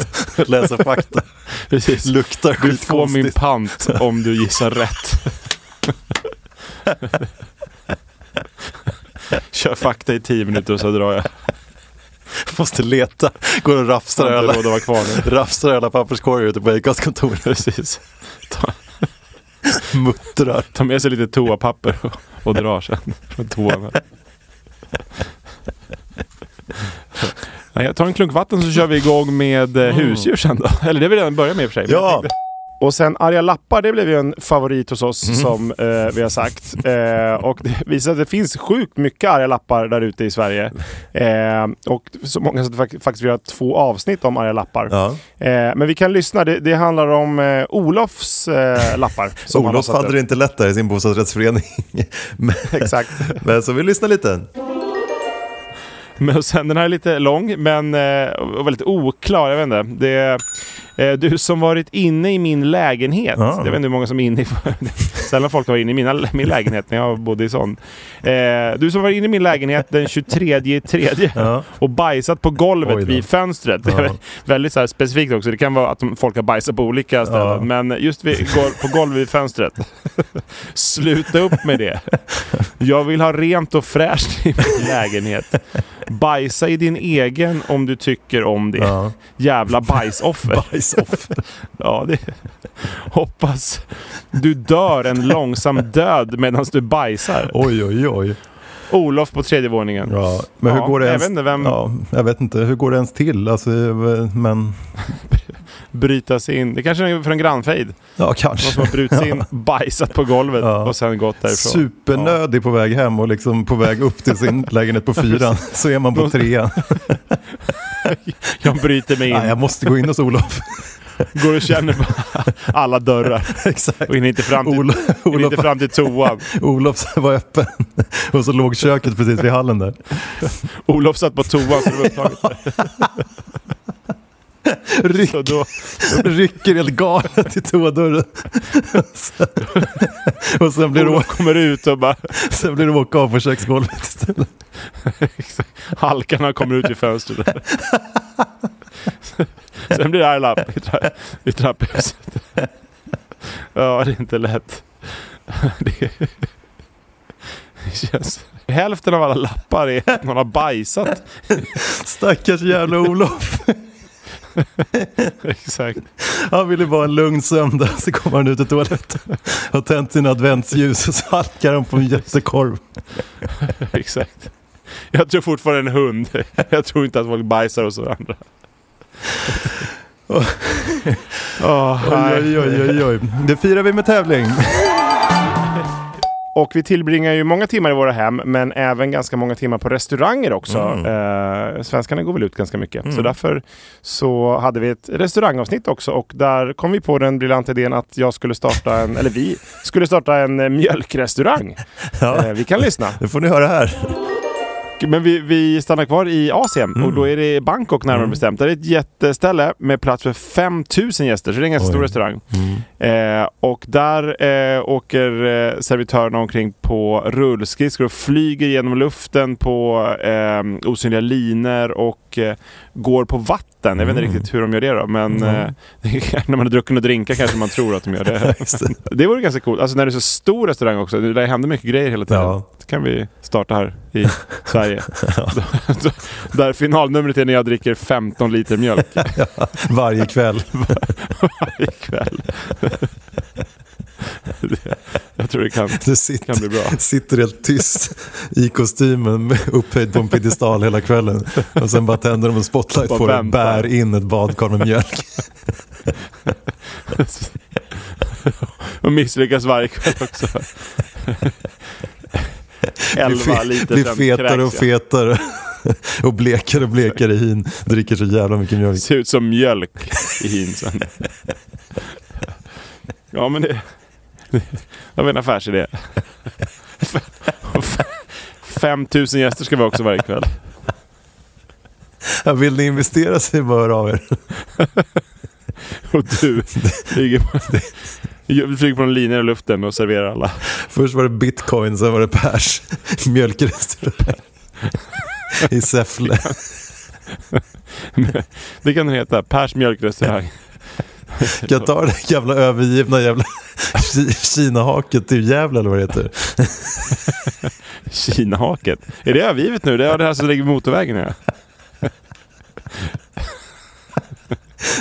Speaker 3: Läsa fakta.
Speaker 2: Precis.
Speaker 3: Luktar
Speaker 2: Du får min
Speaker 3: skitkonstigt.
Speaker 2: pant om du gissar rätt. Kör fakta i tio minuter och så drar jag.
Speaker 3: Måste leta. Går och
Speaker 2: Så
Speaker 3: rafsar
Speaker 2: har jag
Speaker 3: alla,
Speaker 2: inte råd att vara kvar nu.
Speaker 3: rafsar alla papperskorgar ute på Acast kontor.
Speaker 2: Precis. Ta,
Speaker 3: Muttrar.
Speaker 2: ta med sig lite toapapper och, och drar sen från toan. här. Nej, Jag tar en klunk vatten så kör vi igång med eh, husdjur sen då. Eller det har vi redan börjat med i och för sig. men jag
Speaker 3: Ja,
Speaker 2: tänkte- Och sen arga lappar, det blev ju en favorit hos oss som eh, vi har sagt. Eh, och det visar att det finns sjukt mycket arga lappar där ute i Sverige. Eh, och så många så att fak- faktiskt vi har två avsnitt om arga lappar.
Speaker 3: ja.
Speaker 2: Eh, men vi kan lyssna, det, det handlar om eh, Olofs eh, lappar. som han har
Speaker 3: Olof
Speaker 2: satt
Speaker 3: hade
Speaker 2: upp.
Speaker 3: det inte lätt där i sin bostadsrättsförening. Men,
Speaker 2: Exakt.
Speaker 3: men så vi lyssnar lite.
Speaker 2: Men och sen, den här är lite lång, men eh, och väldigt oklar. Jag vet inte. Det är, eh, du som varit inne i min lägenhet.
Speaker 3: Ah.
Speaker 2: Jag vet inte hur många som är inne i... Sällan folk var inne i mina, min lägenhet när jag bodde i sån. Eh, du som var inne i min lägenhet den 23 tredje
Speaker 3: Ja.
Speaker 2: och bajsat på
Speaker 3: Oj
Speaker 2: golvet
Speaker 3: då.
Speaker 2: vid fönstret. Det är
Speaker 3: Ja.
Speaker 2: vä- väldigt så här specifikt också. Det kan vara att de- folk har bajsat på olika ställen.
Speaker 3: Ja.
Speaker 2: Men just vid, gol- på golvet vid fönstret. Sluta upp med det. Jag vill ha rent och fräscht i min lägenhet. Bajsa i din egen om du tycker om det.
Speaker 3: Ja.
Speaker 2: Jävla bajsoffer.
Speaker 3: Bajsoffer.
Speaker 2: Ja, det... Hoppas du dör en långsam död medan du bajsar.
Speaker 3: Oj, oj, oj.
Speaker 2: Olof på tredje våningen.
Speaker 3: Ja. Men hur
Speaker 2: Ja,
Speaker 3: går det
Speaker 2: jag
Speaker 3: ens,
Speaker 2: vet inte vem-
Speaker 3: ja, jag vet inte, hur går det ens till? Alltså, men,
Speaker 2: Bryta sig in. Det kanske är från grannfejd.
Speaker 3: ja,
Speaker 2: Någon som
Speaker 3: kanske.
Speaker 2: har brutit sig in, bajsat på golvet
Speaker 3: Ja.
Speaker 2: och sen gått därifrån.
Speaker 3: Supernödig på väg hem och liksom på väg upp till sin lägenhet på fyran. Så är man på trean.
Speaker 2: Jag bryter mig in,
Speaker 3: Nej, jag måste gå in hos Olof.
Speaker 2: går och känner på alla dörrar
Speaker 3: Exakt.
Speaker 2: och hinner inte fram till,
Speaker 3: Olof,
Speaker 2: hinner inte
Speaker 3: Olof,
Speaker 2: fram till toan.
Speaker 3: Olofs var öppen och så låg köket precis vid hallen där.
Speaker 2: Olof satt på toan så det var upptaget.
Speaker 3: Ryck,
Speaker 2: Så då,
Speaker 3: rycker helt galet i toadörren. och sen blir det
Speaker 2: Olof kommer ut och bara
Speaker 3: Sen blir det åka av på köksgolvet istället.
Speaker 2: halkarna kommer ut i fönstret. Sen blir det arg lapp i, tra- i trapphuset. Ja, det är inte lätt. Det, det känns... Hälften av alla lappar är att någon har bajsat.
Speaker 3: Stackars jävla Olof.
Speaker 2: Exakt.
Speaker 3: Han ville bara ha en lugn sömn där, så kommer han ut ur toaletten. Har tänt sina adventsljus och så halkar han på en jättekorv.
Speaker 2: Exakt. Jag tror fortfarande en hund. Jag tror inte att folk bajsar hos varandra.
Speaker 3: Oj, oj, oj, oj, oj. Det firar vi med tävling.
Speaker 2: Och vi tillbringar ju många timmar i våra hem, men även ganska många timmar på restauranger också. Eh, svenskarna går väl ut ganska mycket. Så därför så hade vi ett restaurangavsnitt också och där kom vi på den briljanta idén att jag skulle starta en, eller vi skulle starta en eh, mjölkrestaurang. Eh,
Speaker 3: Ja,
Speaker 2: vi kan lyssna.
Speaker 3: det får ni höra här.
Speaker 2: Men vi, vi stannar kvar i Asien och
Speaker 3: Mm.
Speaker 2: då är det Bangkok närmare bestämt. Där är ett jätteställe med plats för 5000 gäster, så det är en ganska
Speaker 3: Oj. Mm.
Speaker 2: stor restaurang. Eh, och där eh, åker eh, servitörerna omkring på rullskridskor och flyger genom luften på eh, osynliga linor och eh, går på vatten. Jag vet
Speaker 3: Mm.
Speaker 2: inte riktigt hur de gör det då, men eh, när man har druckit och drinkar kanske man tror att de gör det. det vore ganska coolt. Alltså när det är så stor restaurang också, det där händer mycket grejer hela tiden.
Speaker 3: Ja.
Speaker 2: Det kan vi starta här i Sverige. Där finalnumret är när jag dricker 15 liter mjölk
Speaker 3: Varje kväll.
Speaker 2: ikväll. Det- Jag tror det kan,
Speaker 3: Du
Speaker 2: kan
Speaker 3: sitter,
Speaker 2: bli bra.
Speaker 3: sitter helt tyst i kostymen med- upphöjd på en piedestal hela kvällen. Och sen bara tänder de en spotlight
Speaker 2: Bara
Speaker 3: på dig och
Speaker 2: väntar.
Speaker 3: bär in ett badkar med mjölk.
Speaker 2: Och misslyckas varje kväll också.
Speaker 3: Blir
Speaker 2: Elva
Speaker 3: fe-
Speaker 2: liter
Speaker 3: Blir
Speaker 2: sömn
Speaker 3: fetare och
Speaker 2: kräks jag.
Speaker 3: fetare. Och blekare och blekare i hyn. Dricker så jävla mycket mjölk.
Speaker 2: Ser ut som mjölk i hyn sen. Ja, men det... Det var en affärsidé. 5000 gäster ska vi ha också varje kväll.
Speaker 3: Ja, Vill ni investera så är det bara att höra av er.
Speaker 2: Och du flyger på, du flyger på en linje i luften och serverar alla.
Speaker 3: Först var det bitcoin, sen var det pers. Mjölkrestaurang. I Säffle.
Speaker 2: Det kan den heta. Pers mjölkrestaurang.
Speaker 3: Jag tar det jävla övergivna jävla Ki- Kina-haket till Gävle eller vad det heter.
Speaker 2: Kinahaket. Är det övergivet nu? Det är det här som ligger vid motorvägen. Ja.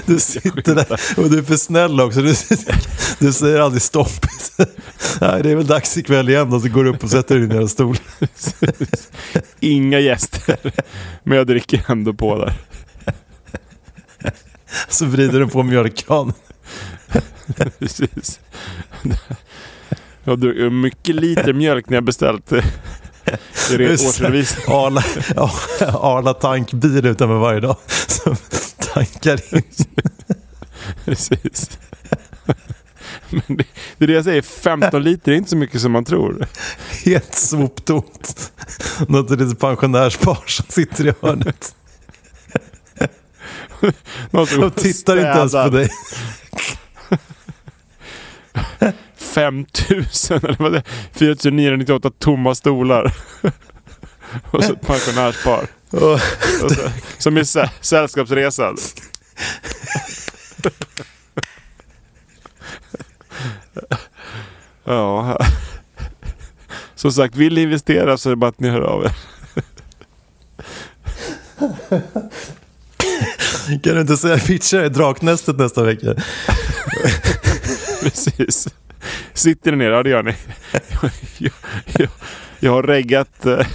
Speaker 3: Du sitter där och du är för snäll också. Du, du säger aldrig stopp. Nej, det är väl dags ikväll igen och så går du upp och sätter dig i din jävla stol.
Speaker 2: Inga gäster. Men jag dricker ändå på där.
Speaker 3: Så vrider du på mjölkkranen.
Speaker 2: Precis. Jag har druckit mycket liter mjölk när jag beställt. eh, I det
Speaker 3: Just det.
Speaker 2: årsredovisning.
Speaker 3: Arla, ja, Arla tankbil utanför varje dag. Som tankar in.
Speaker 2: Precis. Men det, det är det jag säger. 15 liter är inte så mycket som man tror.
Speaker 3: Helt soptomt. Något litet pensionärspar som sitter i hörnet.
Speaker 2: Någon som går
Speaker 3: De
Speaker 2: och
Speaker 3: tittar inte ens på
Speaker 2: städar.
Speaker 3: dig.
Speaker 2: 5000 eller vad det är. 4998 tomma stolar. Och så ett pensionärspar.
Speaker 3: Och
Speaker 2: Och så, som är sä- sällskapsresan. ja. Som sagt, vill ni investera så är det bara att ni hör av er.
Speaker 3: kan du inte säga pitcha i Draknästet nästa vecka?
Speaker 2: Precis. Sitter ni ner? Ja, det gör ni. Jag, jag, jag, jag har reggat eh,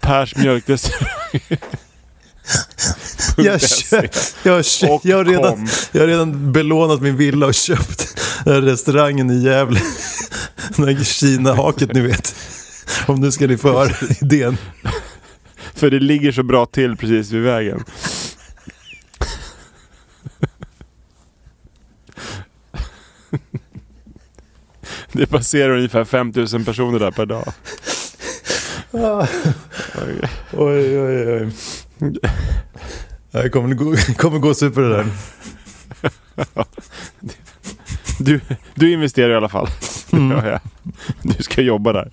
Speaker 2: Pers mjölkrestaurang.
Speaker 3: Jag, köpt, jag, har
Speaker 2: Och
Speaker 3: köpt, jag, har redan,
Speaker 2: kom.
Speaker 3: jag har redan belånat min villa och köpt den här restaurangen i Gävle. Den här Kina-haket ni vet. Om nu ska ni få höra idén.
Speaker 2: För det ligger så bra till precis vid vägen. Det passerar ungefär 5000 personer där per dag. Ah.
Speaker 3: Oj, oj, oj. Det kommer gå, kommer gå super det där.
Speaker 2: Du, du investerar i alla fall. Det gör jag. Du ska jobba där.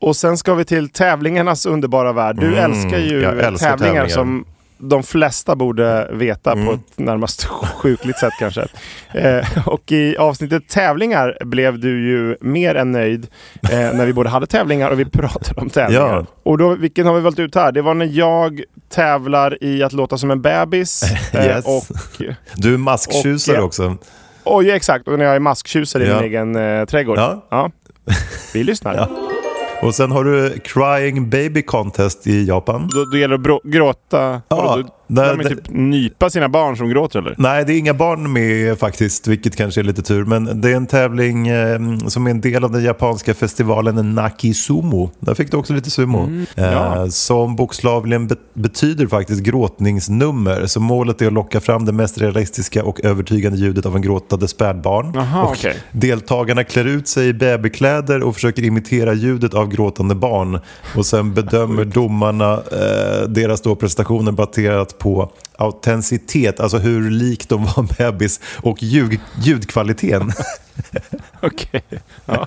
Speaker 2: Och sen ska vi till tävlingarnas underbara värld. Du älskar ju
Speaker 3: Mm, jag älskar
Speaker 2: tävlingar,
Speaker 3: tävlingar. Mm.
Speaker 2: som de flesta borde veta på ett närmast sjukligt sätt kanske. Eh, och i avsnittet tävlingar blev du ju mer än nöjd eh, när vi både hade tävlingar och vi pratade om tävlingar.
Speaker 3: Ja.
Speaker 2: Och då, vilken har vi valt ut här? Det var när jag tävlar i att låta som en bebis. eh,
Speaker 3: Yes.
Speaker 2: och,
Speaker 3: Du är masktjusare
Speaker 2: Och-
Speaker 3: också.
Speaker 2: och ja, exakt, och när jag är masktjusare i
Speaker 3: Ja.
Speaker 2: min egen eh, trädgård.
Speaker 3: Ja.
Speaker 2: Vi lyssnar.
Speaker 3: Och sen har du Crying Baby Contest i Japan.
Speaker 2: Då, då gäller det att brå- gråta.
Speaker 3: Ja,
Speaker 2: Ja, då,
Speaker 3: nej,
Speaker 2: när de
Speaker 3: det-
Speaker 2: typ nypa sina barn som gråter eller?
Speaker 3: Nej, det är inga barn med faktiskt, vilket kanske är lite tur. Men det är en tävling eh, som är en del av den japanska festivalen Nakisumo. Där fick du också lite sumo.
Speaker 2: ja.
Speaker 3: eh, som bokstavligen be- betyder faktiskt gråtningsnummer. Så målet är att locka fram det mest realistiska och övertygande ljudet av en gråtande spädbarn.
Speaker 2: Jaha,
Speaker 3: och
Speaker 2: okej.
Speaker 3: Deltagarna klär ut sig i babykläder och försöker imitera ljudet av gråtande barn. Och sen bedömer domarna eh, deras då prestationer baserat på autenticitet, alltså hur lik de var bebis, och ljud, ljudkvaliteten.
Speaker 2: Okej. Ja.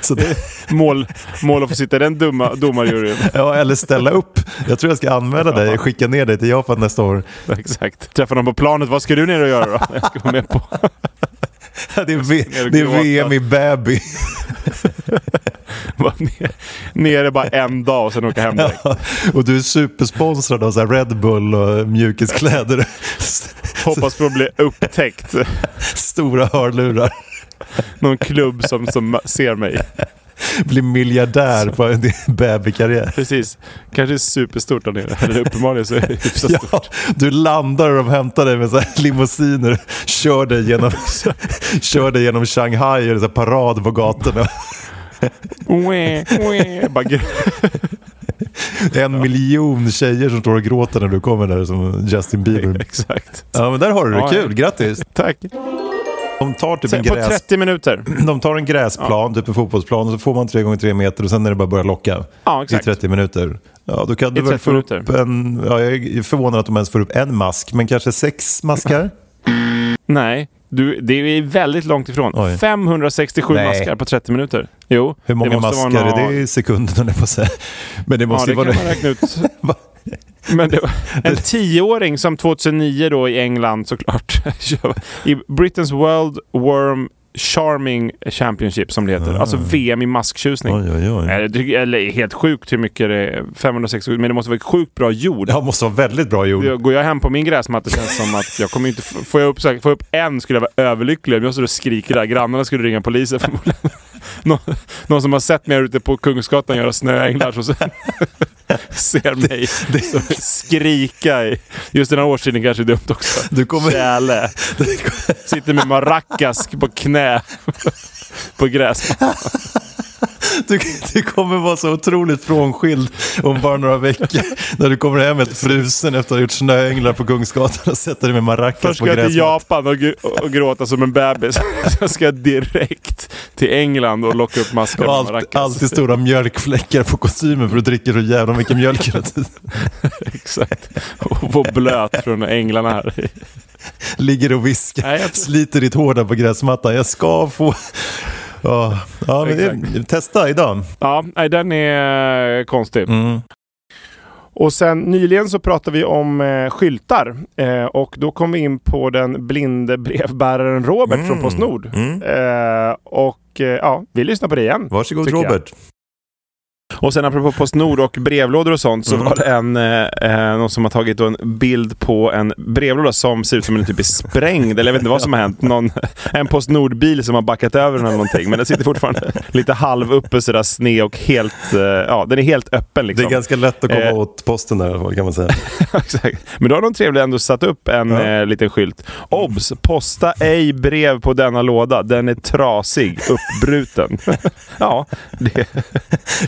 Speaker 3: Så det,
Speaker 2: Mål, mål att få sitta i den dumma domarjuryn.
Speaker 3: ja, eller ställa upp. Jag tror jag ska anmäla dig och skicka ner dig till Japan nästa år.
Speaker 2: Exakt. Träffa dem på planet. Vad ska du ner och göra då? Jag ska vara med på...
Speaker 3: Det är, v, det är VM i baby.
Speaker 2: vara ner- Nere bara en dag och sen åka hem direkt.
Speaker 3: Och du är supersponsrad av så här Red Bull och mjukiskläder. S-
Speaker 2: Hoppas på att bli upptäckt.
Speaker 3: Stora hörlurar.
Speaker 2: Någon klubb som, som ser mig.
Speaker 3: Bli miljardär på en babykarriär.
Speaker 2: Precis. Kanske är superstort där nere. Eller uppenbarligen så är det hyfsat stort.
Speaker 3: Ja, du landar och de hämtar dig med så här limousiner. Kör dig genom, kör dig genom Shanghai och det är så här parad på gatorna.
Speaker 2: Wee, wee. Bara gr-
Speaker 3: En miljon tjejer som står och gråter när du kommer där som Justin Bieber.
Speaker 2: Exakt.
Speaker 3: Ja, men där har du det.
Speaker 2: Ja, ja.
Speaker 3: Kul, grattis.
Speaker 2: Tack.
Speaker 3: De tar typ en
Speaker 2: Sen, på
Speaker 3: gräs...
Speaker 2: 30 minuter.
Speaker 3: De tar en gräsplan, typ en fotbollsplan, och så får man 3 gånger 3 meter och sen är det bara att börja locka.
Speaker 2: Ja,
Speaker 3: I
Speaker 2: exakt.
Speaker 3: 30 minuter. Ja, då kan du väl
Speaker 2: 30
Speaker 3: få upp
Speaker 2: minuter.
Speaker 3: en... Ja, jag är förvånad att de ens får upp en mask, men kanske sex maskar?
Speaker 2: Nej, du, det är väldigt långt ifrån.
Speaker 3: Oj.
Speaker 2: 567
Speaker 3: Nej.
Speaker 2: maskar på 30 minuter. Jo,
Speaker 3: Hur många
Speaker 2: måste vara
Speaker 3: maskar
Speaker 2: någon-
Speaker 3: är det i sekunden, höll jag på att säga. Men det
Speaker 2: Ja,
Speaker 3: måste
Speaker 2: det
Speaker 3: ju
Speaker 2: kan
Speaker 3: vara...
Speaker 2: man räkna ut.
Speaker 3: Va?
Speaker 2: Men det var en tioåring som 2009 då i England såklart, i Britain's World Worm Charming Championship som det heter. Alltså VM i masktjusning.
Speaker 3: Ah. Oj, oj, oj.
Speaker 2: Eller, det- Eller är helt sjukt hur mycket det är. 567, men det måste vara sjukt bra jord.
Speaker 3: Ja, måste vara väldigt bra gjort.
Speaker 2: Jag- Går jag hem på min gräsmatta känns det som att jag kommer inte... f- Får jag upp, så här- får jag upp en skulle jag vara överlycklig. Men jag står och skriker där. Grannarna skulle ringa polisen förmodligen. Nå, någon som har sett mig här ute på Kungsgatan göra snöänglar som sen ser mig så skrika. I. Just den här årstiden kanske är dumt också.
Speaker 3: Du kommer-
Speaker 2: Tjäle. Sitter med maracas på knä på gräsmattan.
Speaker 3: Du, du kommer vara så otroligt frånskild om bara några veckor. När du kommer hem helt frusen efter att ha gjort snöänglar på Kungsgatan och sätter dig med maracas
Speaker 2: Först ska
Speaker 3: på
Speaker 2: jag till
Speaker 3: gräsmattan.
Speaker 2: Japan och, gr- och gråta som en bebis. Sen ska jag direkt till England och locka upp maskar
Speaker 3: Och
Speaker 2: med
Speaker 3: allt,
Speaker 2: maracas.
Speaker 3: alltid stora mjölkfläckar på kostymen för du dricker så jävla mycket mjölk hela tiden.
Speaker 2: Exakt. Och få blöt från änglarna här.
Speaker 3: Ligger och viskar,
Speaker 2: Nej, jag-
Speaker 3: sliter ditt hår där på gräsmattan. Jag ska få... Ja, ja men det,
Speaker 2: Exakt.
Speaker 3: testa idag.
Speaker 2: Ja, nej, den är eh, konstig.
Speaker 3: Mm.
Speaker 2: Och sen nyligen så pratade vi om eh, skyltar eh, och då kom vi in på den blinde brevbäraren Robert
Speaker 3: Mm.
Speaker 2: från Postnord.
Speaker 3: Mm.
Speaker 2: Eh, och eh, ja, vi lyssnar på det igen.
Speaker 3: Varsågod
Speaker 2: Tycker jag.
Speaker 3: Robert.
Speaker 2: Och sen apropå Postnord och brevlådor och sånt så
Speaker 3: Mm.
Speaker 2: var det en, eh, eh, någon som har tagit då en bild på en brevlåda som ser ut som en typ är sprängd. Eller jag vet inte vad som har hänt. Någon, en Postnordbil som har backat över den eller någonting. Men den sitter fortfarande lite halv uppe sådär sned och helt, eh, ja den är helt öppen
Speaker 3: Det
Speaker 2: liksom.
Speaker 3: är ganska lätt att komma
Speaker 2: Eh.
Speaker 3: åt posten där i alla fall, kan man säga.
Speaker 2: Exakt. Men då har de trevligt ändå satt upp en
Speaker 3: Ja.
Speaker 2: eh, liten skylt. Obs! Posta ej brev på denna låda. Den är trasig, uppbruten. ja, det,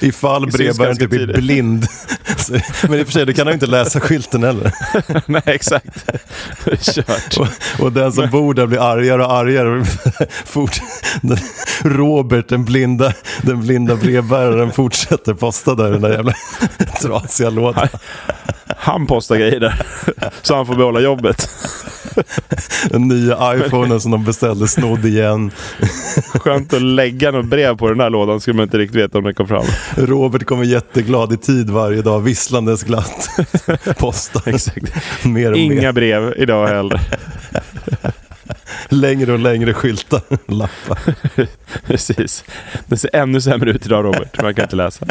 Speaker 3: Ifall
Speaker 2: syns
Speaker 3: brevbäraren
Speaker 2: ganska
Speaker 3: typ är
Speaker 2: tidigt.
Speaker 3: blind. Så- Men i och för sig, då kan han ju inte läsa skylten heller.
Speaker 2: nej exakt. Det är Kört.
Speaker 3: Och, och den som bor där blir argare och argare. Fort, den, Robert, den blinda, den blinda brevbäraren, fortsätter posta där i den där jävla trasiga lådan.
Speaker 2: Han postar grejer där. Så han får behålla jobbet.
Speaker 3: Den nya iPhonen som de beställde snodd igen.
Speaker 2: Skönt att lägga något brev på den här lådan, skulle man inte riktigt veta om den kom fram.
Speaker 3: Robert kommer jätteglad i tid varje dag, visslandes glatt. Posta. Exakt. Mer och
Speaker 2: Inga
Speaker 3: mer.
Speaker 2: brev idag heller.
Speaker 3: Längre och längre skyltar. Lappar.
Speaker 2: Precis. Det ser ännu sämre ut idag Robert, man kan inte läsa.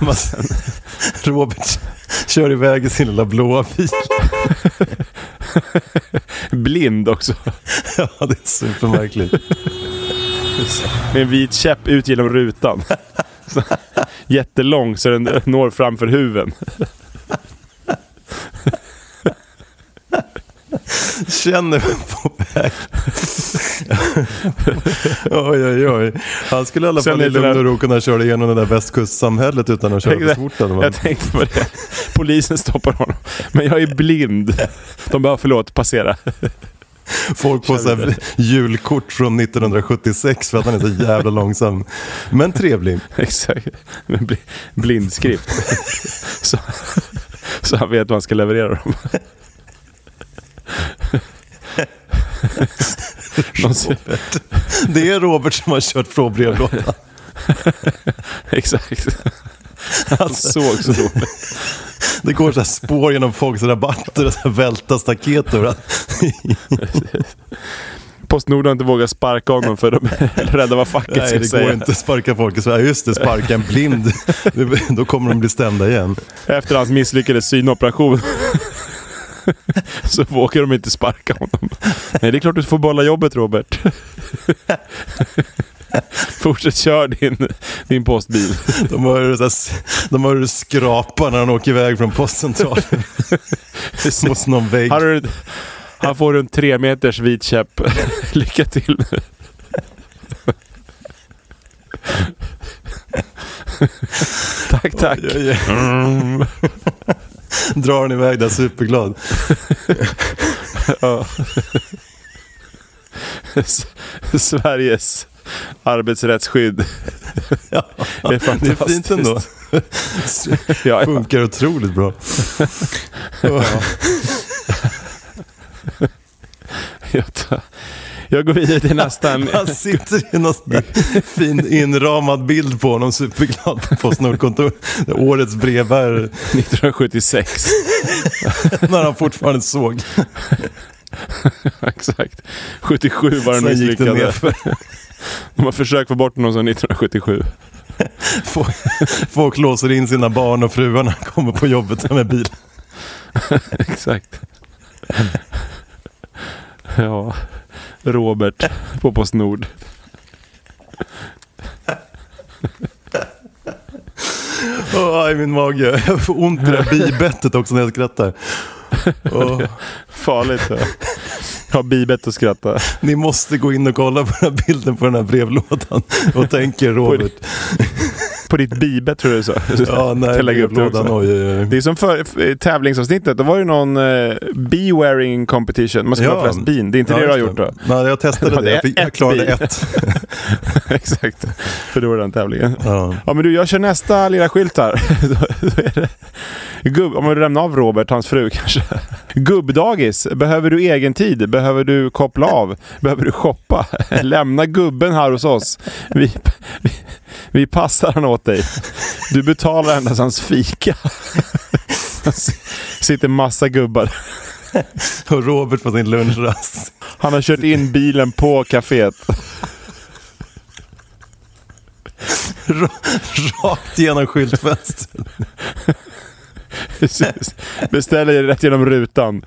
Speaker 3: Man- Robert kör iväg i sin lilla blåa bil.
Speaker 2: Blind också,
Speaker 3: Ja, det är supermärkligt.
Speaker 2: med en vit käpp ut genom rutan. Så, jättelång så den når framför huven.
Speaker 3: Känner mig på väg. oj, oj, oj. Han skulle i alla
Speaker 2: Sen
Speaker 3: fall i
Speaker 2: är det
Speaker 3: lugn
Speaker 2: där-
Speaker 3: och ro kunna köra igenom det där västkustsamhället utan att köra för fort. hade man-
Speaker 2: Jag tänkte på det. Polisen stoppar honom. Men jag är blind. De bara, förlåt, passera.
Speaker 3: Folk på så här julkort från 1976 för att han är så jävla långsam. Men trevlig.
Speaker 2: Exakt. Med bli- blindskrift. Så, så han vet vad han ska leverera dem. Någon, ser-
Speaker 3: Det är Robert som har kört från brevlådan.
Speaker 2: exakt. Han såg så dåligt.
Speaker 3: Alltså, Det går så här spår genom folks rabatter och så här välta staket överallt.
Speaker 2: Postnord har inte vågat sparka honom för de är rädda vad facket
Speaker 3: Nej,
Speaker 2: ska
Speaker 3: det går
Speaker 2: säga.
Speaker 3: inte att sparka folk i Sverige. Just det, sparka en blind. Det- Då kommer de bli stämda igen.
Speaker 2: Efter hans misslyckade synoperation så vågar de inte sparka honom. Nej, det är klart du får bolla jobbet Robert. Fortsätt kör din, din postbil.
Speaker 3: De hör, så här, de hör hur det skrapar när han åker iväg från postcentralen mot någon vägg.
Speaker 2: Här, är, här får du en tre meters vit käpp. Lycka till. tack, tack.
Speaker 3: Oj, oj, oj. Drar han iväg där superglad.
Speaker 2: Ja. S- Sveriges arbetsrättsskydd.
Speaker 3: Ja,
Speaker 2: Det är
Speaker 3: det är fint
Speaker 2: fantastiskt.
Speaker 3: ändå.
Speaker 2: Ja, ja.
Speaker 3: Funkar otroligt bra.
Speaker 2: Jag, tar- jag går vidare till nästa.
Speaker 3: Han sitter i någon sån där fin inramad bild på honom, superglad på Postnordkontor. Det är Årets brevbärare,
Speaker 2: 1976.
Speaker 3: när han fortfarande såg.
Speaker 2: Exakt. 77 var den
Speaker 3: Sen gick det
Speaker 2: misslyckade.
Speaker 3: nerför.
Speaker 2: De har försökt få bort honom sedan 1977.
Speaker 3: Folk, folk låser in sina barn och fruar när han kommer på jobbet med bil.
Speaker 2: Exakt. Ja, Robert på Postnord.
Speaker 3: Åh, aj, min mage. Jag får ont i det här bibettet också när jag skrattar. Åh,
Speaker 2: Farligt. Ja. Jag har bibett att skratta.
Speaker 3: ni måste gå in och kolla på den här bilden på den här brevlådan och tänker Robert.
Speaker 2: På ditt bibett tror jag du sa.
Speaker 3: Ja,
Speaker 2: Jag
Speaker 3: nej,
Speaker 2: kan lägga upp det
Speaker 3: brevlådan.
Speaker 2: också.
Speaker 3: Oj, oj, oj.
Speaker 2: Det är som för f- tävlingsavsnittet. Då var det någon eh, bee wearing competition. Man ska
Speaker 3: Ja.
Speaker 2: ha flest bin. Det är inte det du har
Speaker 3: just
Speaker 2: gjort då?
Speaker 3: Nej, jag testade
Speaker 2: Ja,
Speaker 3: det.
Speaker 2: det är
Speaker 3: Jag, fick, jag
Speaker 2: ett
Speaker 3: klarade
Speaker 2: bil.
Speaker 3: ett.
Speaker 2: Exakt. För då var det den tävlingen.
Speaker 3: Ja.
Speaker 2: Ja men du, jag kör nästa lilla skylt här. Då- då är det- Gubb, om du lämnar av Robert, hans fru kanske. Gubbdagis. Behöver du egen tid? Behöver du koppla av? Behöver du shoppa? Lämna gubben här hos oss. Vi, vi, vi passar han åt dig. Du betalar endast hans fika. Sitter massa gubbar.
Speaker 3: Och Robert på sin lunchrast.
Speaker 2: Han har kört in bilen på kaféet.
Speaker 3: Rakt genom skyltfönstret.
Speaker 2: Precis. Beställer rätt genom rutan.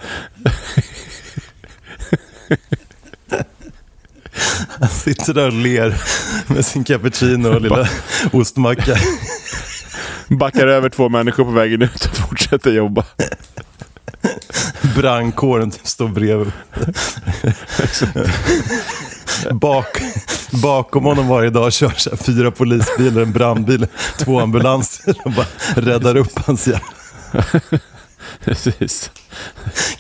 Speaker 3: Han sitter där och ler med sin cappuccino och lilla ostmacka.
Speaker 2: Backar över två människor på vägen ut och fortsätter jobba.
Speaker 3: Brandkåren står bredvid. Bak, bakom honom varje dag kör så här fyra polisbilar, en brandbil, två ambulanser och bara räddar upp hans hjärna.
Speaker 2: Precis.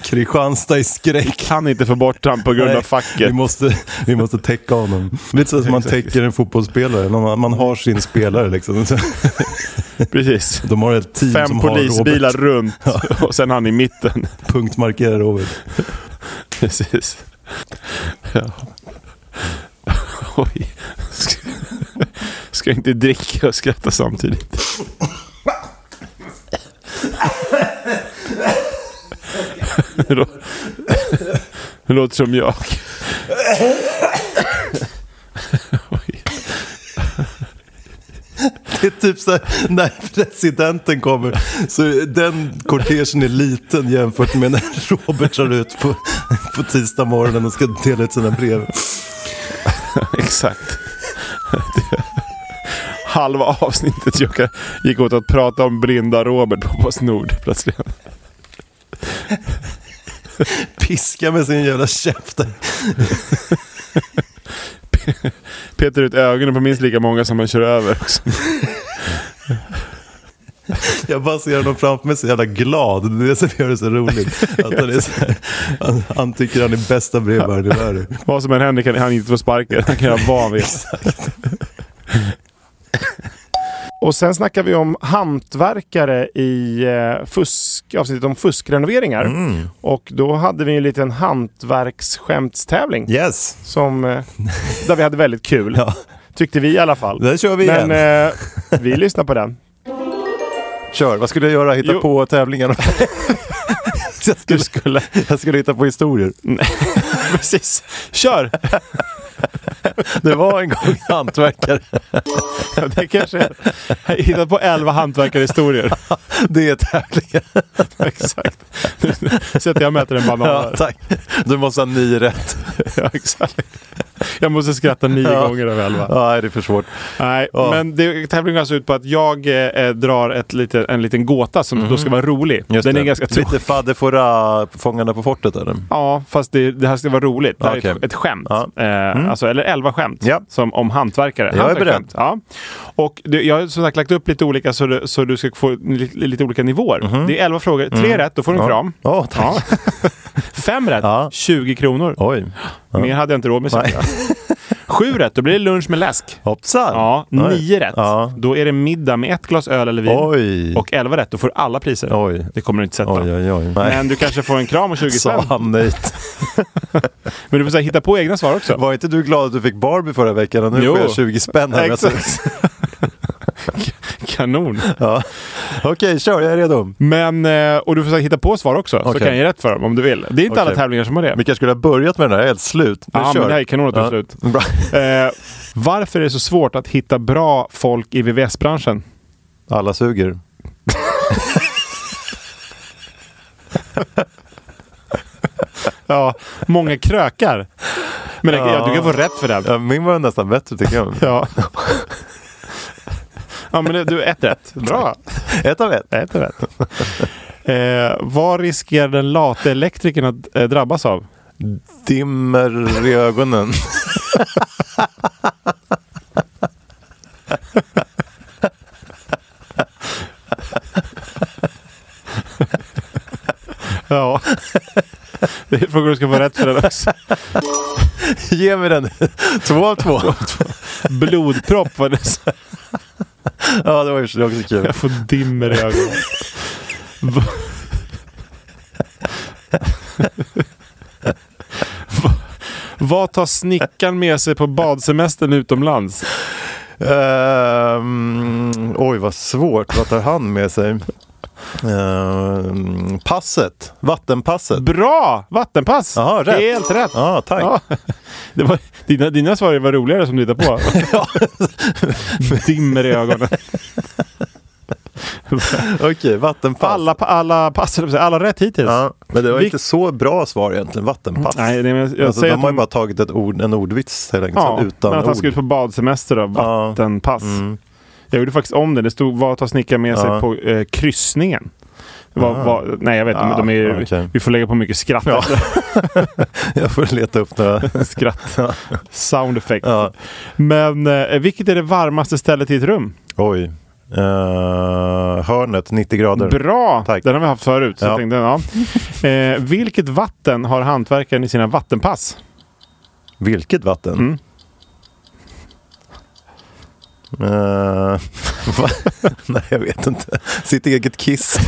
Speaker 3: Kristianstad i skräck.
Speaker 2: Kan inte få bort han på grund av
Speaker 3: Nej, Vi
Speaker 2: facket.
Speaker 3: måste, vi måste täcka honom. Lite så som man täcker en fotbollsspelare. Man, man har sin spelare liksom. Så
Speaker 2: Precis.
Speaker 3: De har ett team
Speaker 2: Fem
Speaker 3: som
Speaker 2: polisbilar
Speaker 3: har Robert.
Speaker 2: runt och sen han i mitten.
Speaker 3: Punktmarkerar Robert.
Speaker 2: Precis. Ja. Oj. Ska, ska inte dricka och skratta samtidigt. Det lå- Det låter som jag. Oj.
Speaker 3: Det är typ så här, när presidenten kommer. Så den kortegen är liten jämfört med när Robert drar ut på, på tisdag morgonen och ska dela ut sina brev.
Speaker 2: Exakt. Det- Halva avsnittet jag kan- gick åt att prata om blinda Robert på Postnord plötsligt.
Speaker 3: Piska med sin jävla käft. där.
Speaker 2: Petar ut ögonen på minst lika många som man kör över. Också.
Speaker 3: Jag bara ser honom framför mig så jävla glad. Det är det som gör det så roligt. Att han, är så här, han, han tycker han är bästa brevbäraren i världen.
Speaker 2: Vad som än händer kan han inte få sparken. Han kan göra vad han vill. Och sen snackar vi om hantverkare i eh, fusk, avsnittet om fuskrenoveringar. Och då hade vi en liten hantverksskämtstävling
Speaker 3: Yes.
Speaker 2: som, eh, där vi hade väldigt kul.
Speaker 3: Ja.
Speaker 2: Tyckte vi i alla fall.
Speaker 3: Där kör vi igen.
Speaker 2: Men eh, vi lyssnar på den.
Speaker 3: Kör, vad skulle jag göra? Hitta
Speaker 2: Jo.
Speaker 3: på tävlingar? jag, skulle, jag skulle hitta på historier.
Speaker 2: Precis. Kör!
Speaker 3: Det var en gång en hantverkare.
Speaker 2: Ja, Det kanske är. Jag har hittat på elva hantverkarhistorier.
Speaker 3: Det är tävlingen.
Speaker 2: Exakt. Nu sätter jag och mäter en banan.
Speaker 3: Ja,
Speaker 2: här.
Speaker 3: tack. Du måste ha nio rätt.
Speaker 2: Ja, exakt. Jag måste skratta nio
Speaker 3: Ja.
Speaker 2: gånger av elva.
Speaker 3: Ja, nej, det är för svårt.
Speaker 2: Nej,
Speaker 3: Ja.
Speaker 2: men det, tävlingen går alltså ut på att jag eh, drar ett lite, en liten gåta som då ska vara rolig.
Speaker 3: Mm. Just
Speaker 2: Den
Speaker 3: det.
Speaker 2: är ganska tråkig.
Speaker 3: Lite fadde fåra Fångarna på fortet eller?
Speaker 2: Ja, fast det, det här ska vara roligt. Det här är ett,
Speaker 3: Okej.
Speaker 2: ett skämt.
Speaker 3: Ja. Mm.
Speaker 2: Eh, alltså, eller elva skämt
Speaker 3: Ja.
Speaker 2: som, om hantverkare.
Speaker 3: Jag är
Speaker 2: Hantverksskämt. Ja. Och det, jag har som sagt lagt upp lite olika så du, så du ska få lite, lite olika nivåer. Det är elva frågor. Tre rätt, då får du en kram.
Speaker 3: Mhm. Mm. Ja, Åh, tack.
Speaker 2: Fem rätt,
Speaker 3: Ja.
Speaker 2: 20 kronor.
Speaker 3: Oj.
Speaker 2: Mer hade jag inte råd med.
Speaker 3: Nej.
Speaker 2: Sju rätt, då blir det lunch med läsk.
Speaker 3: Hoppsan.
Speaker 2: Ja,
Speaker 3: Oj.
Speaker 2: nio rätt.
Speaker 3: Ja.
Speaker 2: Då är det middag med ett glas öl eller vin.
Speaker 3: Oj.
Speaker 2: Och elva rätt, då får du alla priser.
Speaker 3: Oj.
Speaker 2: Det kommer du inte sätta.
Speaker 3: Oj, oj, oj.
Speaker 2: Men du kanske får en kram och 20
Speaker 3: Sa
Speaker 2: spänn.
Speaker 3: han nöjt.
Speaker 2: Men du får så här, hitta på egna svar också.
Speaker 3: Var inte du glad att du fick Barbie förra veckan och nu
Speaker 2: Jo.
Speaker 3: får jag 20 spänn här?
Speaker 2: Exakt. Kanon.
Speaker 3: Ja. Okej, kör, jag är redo.
Speaker 2: Men, eh, och du får så här, hitta på svar också, så
Speaker 3: Okej.
Speaker 2: kan jag ge rätt för dem om du vill. Det är inte alla
Speaker 3: Okej.
Speaker 2: tävlingar som har det.
Speaker 3: Vi kanske skulle ha börjat med den här, helt slut. Nu
Speaker 2: Ja,
Speaker 3: kör.
Speaker 2: men det här är kanon att du är slut.
Speaker 3: Bra.
Speaker 2: Eh, varför är det så svårt att hitta bra folk i VVS-branschen?
Speaker 3: Alla suger.
Speaker 2: Ja, många krökar. Men ja. du kan få rätt för det.
Speaker 3: Ja, min var nästan bättre tycker jag.
Speaker 2: Ja. Ja men det- du, ett rätt. Bra.
Speaker 3: Ett av ett.
Speaker 2: Ett rätt. Eh, vad riskerar den late elektrikern att eh, drabbas av?
Speaker 3: Dimmer i ögonen.
Speaker 2: Ja. Det är frågan du ska få rätt för den också.
Speaker 3: Ge mig den. Två av två.
Speaker 2: Blodpropp var det som
Speaker 3: Ja, det var ju så- det var också kul.
Speaker 2: jag får dimmer i ögonen. Va- Va- Vad tar snickaren med sig på badsemestern utomlands?
Speaker 3: Ehm, oj, vad svårt. Vad tar han med sig? Ehm, passet. Vattenpasset.
Speaker 2: Bra! Vattenpass!
Speaker 3: Jaha, rätt.
Speaker 2: Helt rätt!
Speaker 3: Ja, tack.
Speaker 2: Mm. Ja. Det var, dina, dina svar var roligare som du hittade på. Dimmer i ögonen.
Speaker 3: Okej, vattenpass.
Speaker 2: Alla, pa- alla pass, höll jag på att säga. alla rätt hittills.
Speaker 3: Ja, men det var
Speaker 2: Vi-
Speaker 3: inte så bra svar egentligen, vattenpass.
Speaker 2: Nej, nej, men jag
Speaker 3: alltså,
Speaker 2: säger
Speaker 3: de
Speaker 2: att
Speaker 3: har ju
Speaker 2: de-
Speaker 3: bara tagit ett ord, en ordvits helt enkelt,
Speaker 2: Ja, men att
Speaker 3: typ, utan
Speaker 2: han ska
Speaker 3: ord. Mm.
Speaker 2: ut på badsemester då. Vattenpass. Jag gjorde faktiskt om det. Det stod vad tar snickaren med sig
Speaker 3: Ja. Ah.
Speaker 2: på eh, kryssningen? Vad- vad- nej, jag vet inte. de är, ju-
Speaker 3: okej.
Speaker 2: Vi får lägga på mycket skratt. efter
Speaker 3: Jag får leta upp några.
Speaker 2: skratt. Sound effect.
Speaker 3: Ja.
Speaker 2: Men eh, vilket är det varmaste stället i ett rum?
Speaker 3: Oj. Eh, hörnet, 90 grader.
Speaker 2: Bra!
Speaker 3: Tack.
Speaker 2: Den har vi haft förut. Så
Speaker 3: Ja.
Speaker 2: jag tänkte, ja. eh, vilket vatten har hantverkaren i sina vattenpass?
Speaker 3: Vilket vatten?
Speaker 2: Mm.
Speaker 3: Eh, va? Nej, jag vet inte. Sitt eget kiss.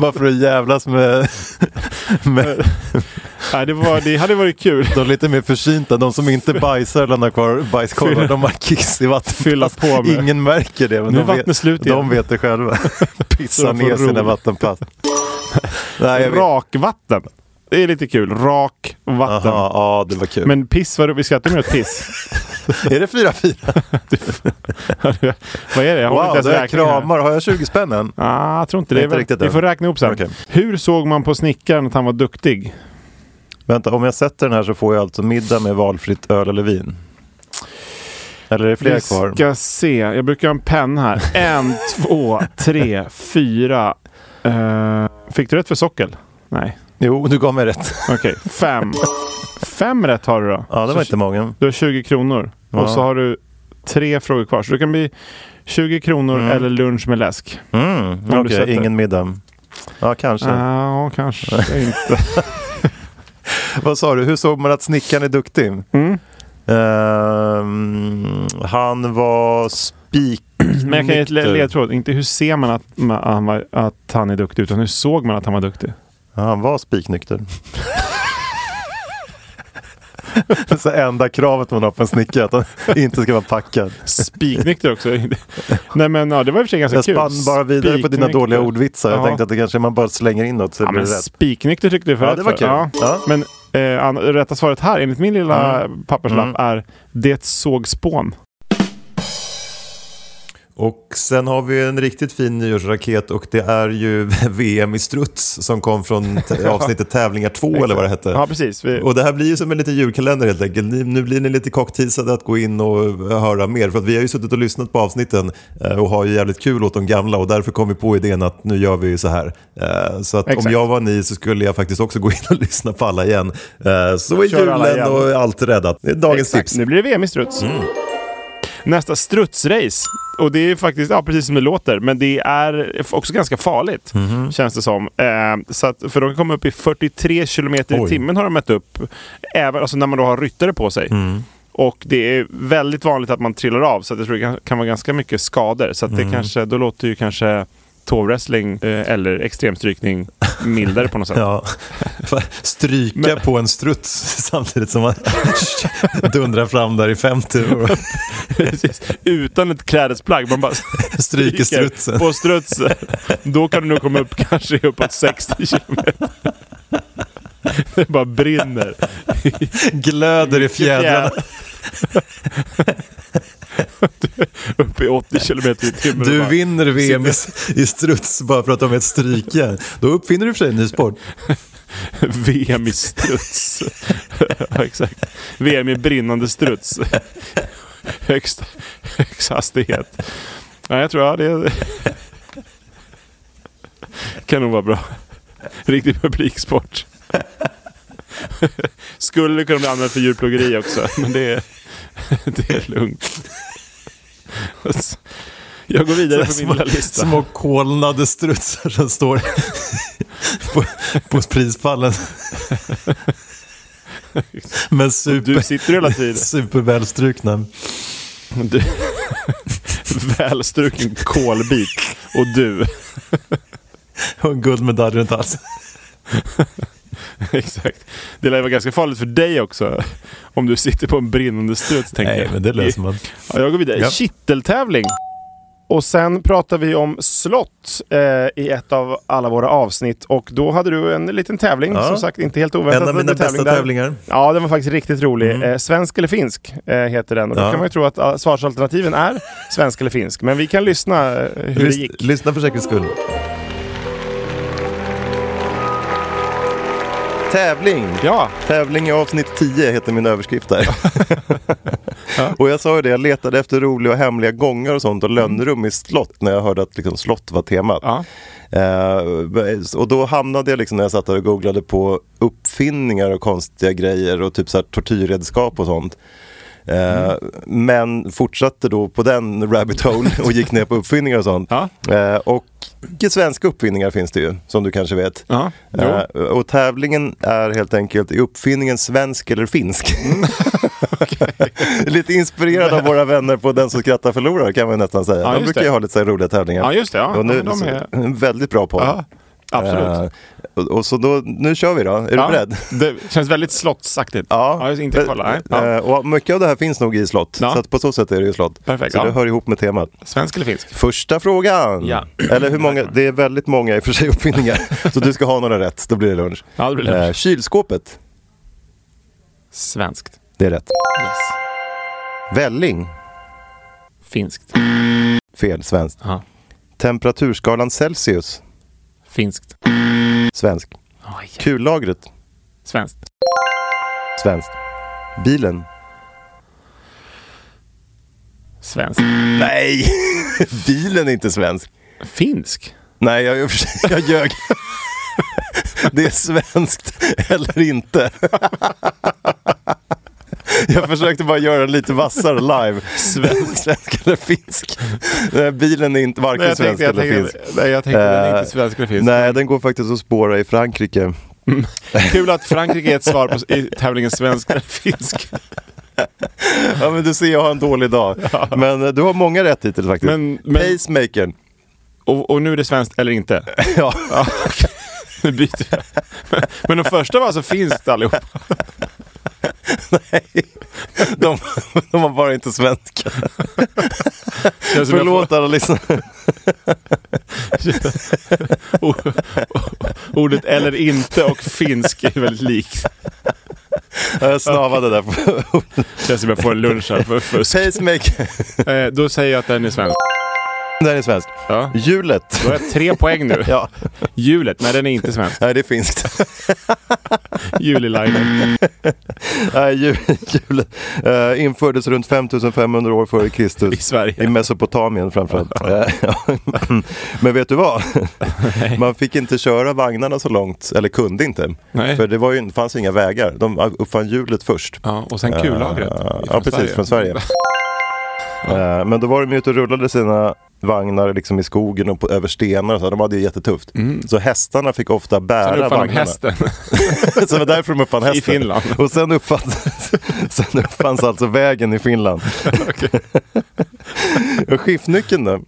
Speaker 3: Bara för att jävlas med, med
Speaker 2: Nej, det, var, det hade varit kul.
Speaker 3: de lite mer försynta. De som inte bajsar eller lämnar kvar bajskorvar, de har kiss i vatten.
Speaker 2: Fylla på med.
Speaker 3: Ingen märker det, men
Speaker 2: Nu är
Speaker 3: de,
Speaker 2: vattnet
Speaker 3: vet,
Speaker 2: slut
Speaker 3: de
Speaker 2: igen.
Speaker 3: vet det själva. Pissar
Speaker 2: De får
Speaker 3: ner sina
Speaker 2: ro.
Speaker 3: vattenpass. Nej, jag vet.
Speaker 2: Rakvatten. Det är lite kul. Rakvatten.
Speaker 3: Aha, ja, det var kul.
Speaker 2: Men piss, vad, vi skrattar mer åt piss.
Speaker 3: Är det 4-4?
Speaker 2: vad är det? Jag har
Speaker 3: Wow,
Speaker 2: inte ens
Speaker 3: det är
Speaker 2: räkning här.
Speaker 3: kramar. Har jag 20 spänn än?
Speaker 2: Ah, jag tror inte det.
Speaker 3: Nej,
Speaker 2: det är
Speaker 3: inte
Speaker 2: väl,
Speaker 3: riktigt
Speaker 2: vi
Speaker 3: än.
Speaker 2: får räkna ihop sen.
Speaker 3: Okej.
Speaker 2: Hur såg man på snickaren att han var duktig?
Speaker 3: Vänta, om jag sätter den här så får jag alltså middag med valfritt öl eller vin. Eller är det fler
Speaker 2: Vi
Speaker 3: kvar?
Speaker 2: ska se. Jag brukar ha en penna här. En, två, tre, fyra. Eh, fick du rätt för sockel? Nej.
Speaker 3: Jo, du gav mig rätt.
Speaker 2: Okej, fem. Fem rätt har du då.
Speaker 3: Ja, det
Speaker 2: Så
Speaker 3: var inte många.
Speaker 2: Du har 20 kronor.
Speaker 3: Ja.
Speaker 2: Och så har du tre frågor kvar. Så du kan bli 20 kronor eller lunch med läsk.
Speaker 3: Mm,
Speaker 2: du
Speaker 3: Okej,
Speaker 2: sätter. Ah.
Speaker 3: ingen middag. Ja, kanske.
Speaker 2: Ja, kanske inte.
Speaker 3: Vad sa du, hur såg man att snickaren är duktig?
Speaker 2: Mm.
Speaker 3: Ehm, han var spik...
Speaker 2: Men jag kan ge ett le-
Speaker 3: eh,
Speaker 2: ledtråd. Inte hur ser man att, ma- han var, att han är duktig, utan hur såg man att han var duktig?
Speaker 3: Ja, han var spiknykter. Det är så enda kravet man har på en snickare, att han inte ska vara packad.
Speaker 2: Spiknykter också. Nej men ja, det var i och för sig ganska
Speaker 3: Jag
Speaker 2: kul.
Speaker 3: spann bara vidare på dina
Speaker 2: Spiknykter.
Speaker 3: dåliga ordvitsar. Jag
Speaker 2: Ja.
Speaker 3: tänkte att det kanske man bara slänger in något så
Speaker 2: Ja,
Speaker 3: blir
Speaker 2: men
Speaker 3: det rätt.
Speaker 2: spiknykter tyckte du förut.
Speaker 3: Ja, det var kul.
Speaker 2: Ja.
Speaker 3: Ja. Mm.
Speaker 2: Men eh, an- rätta svaret här, enligt min lilla papperslapp, är det såg spån.
Speaker 3: Och sen har vi en riktigt fin nyårsraket och det är ju VM i struts som kom från t- avsnittet tävlingar 2 eller vad det hette.
Speaker 2: Ja, precis. Vi,
Speaker 3: Eh, Och det här blir ju som en liten julkalender helt enkelt. Ni- Nu blir ni lite cockteasade att gå in och eh, höra mer. För att vi har ju suttit och lyssnat på avsnitten eh, och har ju jävligt kul åt de gamla och därför kom vi på idén att nu gör vi ju så här. Eh, Så att om
Speaker 2: Exakt.
Speaker 3: jag var ni så skulle jag faktiskt också gå in och lyssna på alla igen. Eh, Så är
Speaker 2: Kör alla
Speaker 3: julen
Speaker 2: igen.
Speaker 3: och allt räddat. Det är dagens
Speaker 2: Exakt.
Speaker 3: tips. Mm.
Speaker 2: Nu blir det VM i struts. Nästa, strutsrace. Och det är faktiskt, ja precis som det låter, men det är f- också ganska farligt.
Speaker 3: Mhm.
Speaker 2: Känns det som. Eh, så att, för de kan komma upp i 43 kilometer i
Speaker 3: Oj.
Speaker 2: timmen har de mätt upp. Även alltså, när man då har ryttare på sig.
Speaker 3: Mm.
Speaker 2: Och det är väldigt vanligt att man trillar av, så att jag tror det kan, kan vara ganska mycket skador. Så att
Speaker 3: Mm.
Speaker 2: det kanske, då låter ju kanske tåwrestling eh, eller extremstrykning mildare på något sätt.
Speaker 3: Ja, Fan, stryka på en struts samtidigt som man dundrar fram där i 50 och
Speaker 2: Precis. Utan ett klädesplagg. Man bara
Speaker 3: stryker strutsen.
Speaker 2: på strutsen. Då kan du nog komma upp kanske uppåt 60 kilometer. Det bara brinner.
Speaker 3: Glöder i fjädrarna.
Speaker 2: upp i 80 kilometer i timmen. och
Speaker 3: Du
Speaker 2: bara-
Speaker 3: vinner VM i, i struts bara för att de är ett strykjärn. Då uppfinner du i och för sig en ny sport.
Speaker 2: VM i struts. ja, exakt. VM i brinnande struts. Högst, högst hastighet. Ja, jag tror ja, det kan nog vara bra. Riktig publiksport. Skulle kunna bli använd för djurplågeri också, men det är, det är lugnt. Jag går vidare på min lilla lista.
Speaker 3: Små kolnade strutsar som står på, på prispallen. Men
Speaker 2: Du
Speaker 3: super,
Speaker 2: sitter hela tiden.
Speaker 3: supervälstrukna.
Speaker 2: Du. Välstruken kolbit och du.
Speaker 3: Och en guldmedalj runt halsen.
Speaker 2: Exakt. Det lär vara ganska farligt för dig också. Om du sitter på en brinnande struts tänker
Speaker 3: Nej,
Speaker 2: jag.
Speaker 3: men det löser man.
Speaker 2: Ja, jag går vidare.
Speaker 3: Ja.
Speaker 2: Kitteltävling. Och sen pratar vi om slott eh, i ett av alla våra avsnitt. Och då hade du en liten tävling,
Speaker 3: Ja.
Speaker 2: som sagt inte helt oväntat.
Speaker 3: En av
Speaker 2: men
Speaker 3: mina
Speaker 2: en tävling
Speaker 3: bästa
Speaker 2: där.
Speaker 3: tävlingar. Mm.
Speaker 2: Ja, den var faktiskt riktigt rolig. Eh, svensk eller finsk eh, heter den. Och då
Speaker 3: Ja.
Speaker 2: kan man ju tro att ah, svarsalternativen är svensk eller finsk. Men vi kan lyssna eh, hur det
Speaker 3: Lys
Speaker 2: gick.
Speaker 3: lyssna för säkerhets skull. Tävling!
Speaker 2: Ja,
Speaker 3: Tävling i avsnitt 10 heter min överskrift där. och jag sa ju det, jag letade efter roliga och hemliga gångar och sånt och lönnrum i slott när jag hörde att liksom, slott var temat.
Speaker 2: Mm. Ja.
Speaker 3: Eh, och då hamnade jag liksom när jag satt där och googlade på uppfinningar och konstiga grejer och typ så här tortyrredskap och sånt. Eh,
Speaker 2: Mm.
Speaker 3: Men fortsatte då på den rabbit hole och gick ner på uppfinningar och sånt.
Speaker 2: Ja.
Speaker 3: Eh, Och vilka svenska uppfinningar finns det ju, som du kanske vet.
Speaker 2: Ja, jo.
Speaker 3: Eh, Och tävlingen är helt enkelt, är uppfinningen svensk eller finsk?
Speaker 2: Mm.
Speaker 3: lite inspirerad av våra vänner på Den som skrattar förlorar kan man nästan säga.
Speaker 2: Ja,
Speaker 3: de
Speaker 2: just
Speaker 3: brukar
Speaker 2: det.
Speaker 3: ju ha lite så här roliga tävlingar.
Speaker 2: Ja, just det, ja.
Speaker 3: Och nu,
Speaker 2: Ja, men de är-
Speaker 3: en väldigt bra podd.
Speaker 2: Ja, absolut.
Speaker 3: Eh, och, och så då, nu kör vi då. Är
Speaker 2: ja,
Speaker 3: du beredd?
Speaker 2: Det känns väldigt slottsaktigt. ja jag ska inte kolla. Nej. Ja.
Speaker 3: Eh, Och mycket av det här finns nog i slott,
Speaker 2: Ja.
Speaker 3: så att på så sätt är det ju slott.
Speaker 2: Perfekt,
Speaker 3: så
Speaker 2: ja.
Speaker 3: det hör ihop med temat.
Speaker 2: Svensk eller finsk?
Speaker 3: Första frågan.
Speaker 2: Ja.
Speaker 3: Eller hur många, det är väldigt många i och för sig uppfinningar. så du ska ha några rätt, då blir det lunch.
Speaker 2: Ja, det blir lunch.
Speaker 3: Eh, kylskåpet,
Speaker 2: Svenskt.
Speaker 3: det är rätt.
Speaker 2: Yes.
Speaker 3: Välling,
Speaker 2: Finskt.
Speaker 3: fel, svenskt.
Speaker 2: Ja.
Speaker 3: Temperaturskalan Celsius,
Speaker 2: Finskt.
Speaker 3: svensk.
Speaker 2: Oj.
Speaker 3: Kullagret,
Speaker 2: Svenskt.
Speaker 3: svenskt. Bilen,
Speaker 2: Svenskt.
Speaker 3: nej, bilen är inte svensk.
Speaker 2: Finsk?
Speaker 3: Nej, jag, jag, jag ljög. Det är svenskt eller inte. Jag försökte bara göra det lite vassare live. Svensk, svensk eller finsk. Den här bilen är inte varken
Speaker 2: Nej, jag
Speaker 3: svensk
Speaker 2: tänkte, jag
Speaker 3: eller
Speaker 2: tänkte,
Speaker 3: finsk.
Speaker 2: nej, jag tänkte den är
Speaker 3: Eh,
Speaker 2: inte svensk eller finsk.
Speaker 3: Nej, den går faktiskt att spåra i Frankrike.
Speaker 2: Kul att Frankrike är ett svar på i tävlingen svensk eller finsk.
Speaker 3: Ja, men du ser, jag har en dålig dag. Men eh, du har många rätt hittills faktiskt.
Speaker 2: Men- men-
Speaker 3: Pacemakern.
Speaker 2: Och, och nu är det svenskt eller inte.
Speaker 3: Ja.
Speaker 2: Nu byter jag. Men de första var alltså finskt allihop.
Speaker 3: De, de var bara inte svenska.
Speaker 2: Känns som Alltså, jag
Speaker 3: Förlåt alla lyssnare.
Speaker 2: får- o- o- Ordet eller inte och finsk är väldigt likt.
Speaker 3: Jag snavade där.
Speaker 2: Känns som jag får en lunch här för fusk.
Speaker 3: Pacemaker.
Speaker 2: Eh, då säger jag att den är svensk.
Speaker 3: Den är svensk.
Speaker 2: Ja.
Speaker 3: Hjulet.
Speaker 2: Då har jag tre poäng nu.
Speaker 3: Ja.
Speaker 2: Hjulet, nej den är inte svensk.
Speaker 3: Nej, det är finskt.
Speaker 2: Juliliner.
Speaker 3: Nej, ju- Hjulet eh, infördes runt 5500 år före Kristus.
Speaker 2: I Sverige.
Speaker 3: I Mesopotamien framförallt. Eh, ja. Men vet du vad? Man fick inte köra vagnarna så långt, eller kunde inte.
Speaker 2: Nej.
Speaker 3: För det var ju, det fanns inga vägar. De uppfann hjulet först.
Speaker 2: Ja, och sen kullagret.
Speaker 3: Eh,
Speaker 2: ifrån
Speaker 3: ja, precis.
Speaker 2: Sverige.
Speaker 3: Från Sverige. Eh, Men då var de ju ute och rullade sina vagnar liksom i skogen och på, över stenar. och Så de hade ju jättetufft. Så hästarna fick ofta bära
Speaker 2: Mm. Sen uppfann de
Speaker 3: vagnarna.
Speaker 2: hästen.
Speaker 3: så det var därför de uppfann hästen.
Speaker 2: I Finland.
Speaker 3: Och sen uppfanns, sen uppfanns alltså vägen i Finland. och skiftnyckeln då?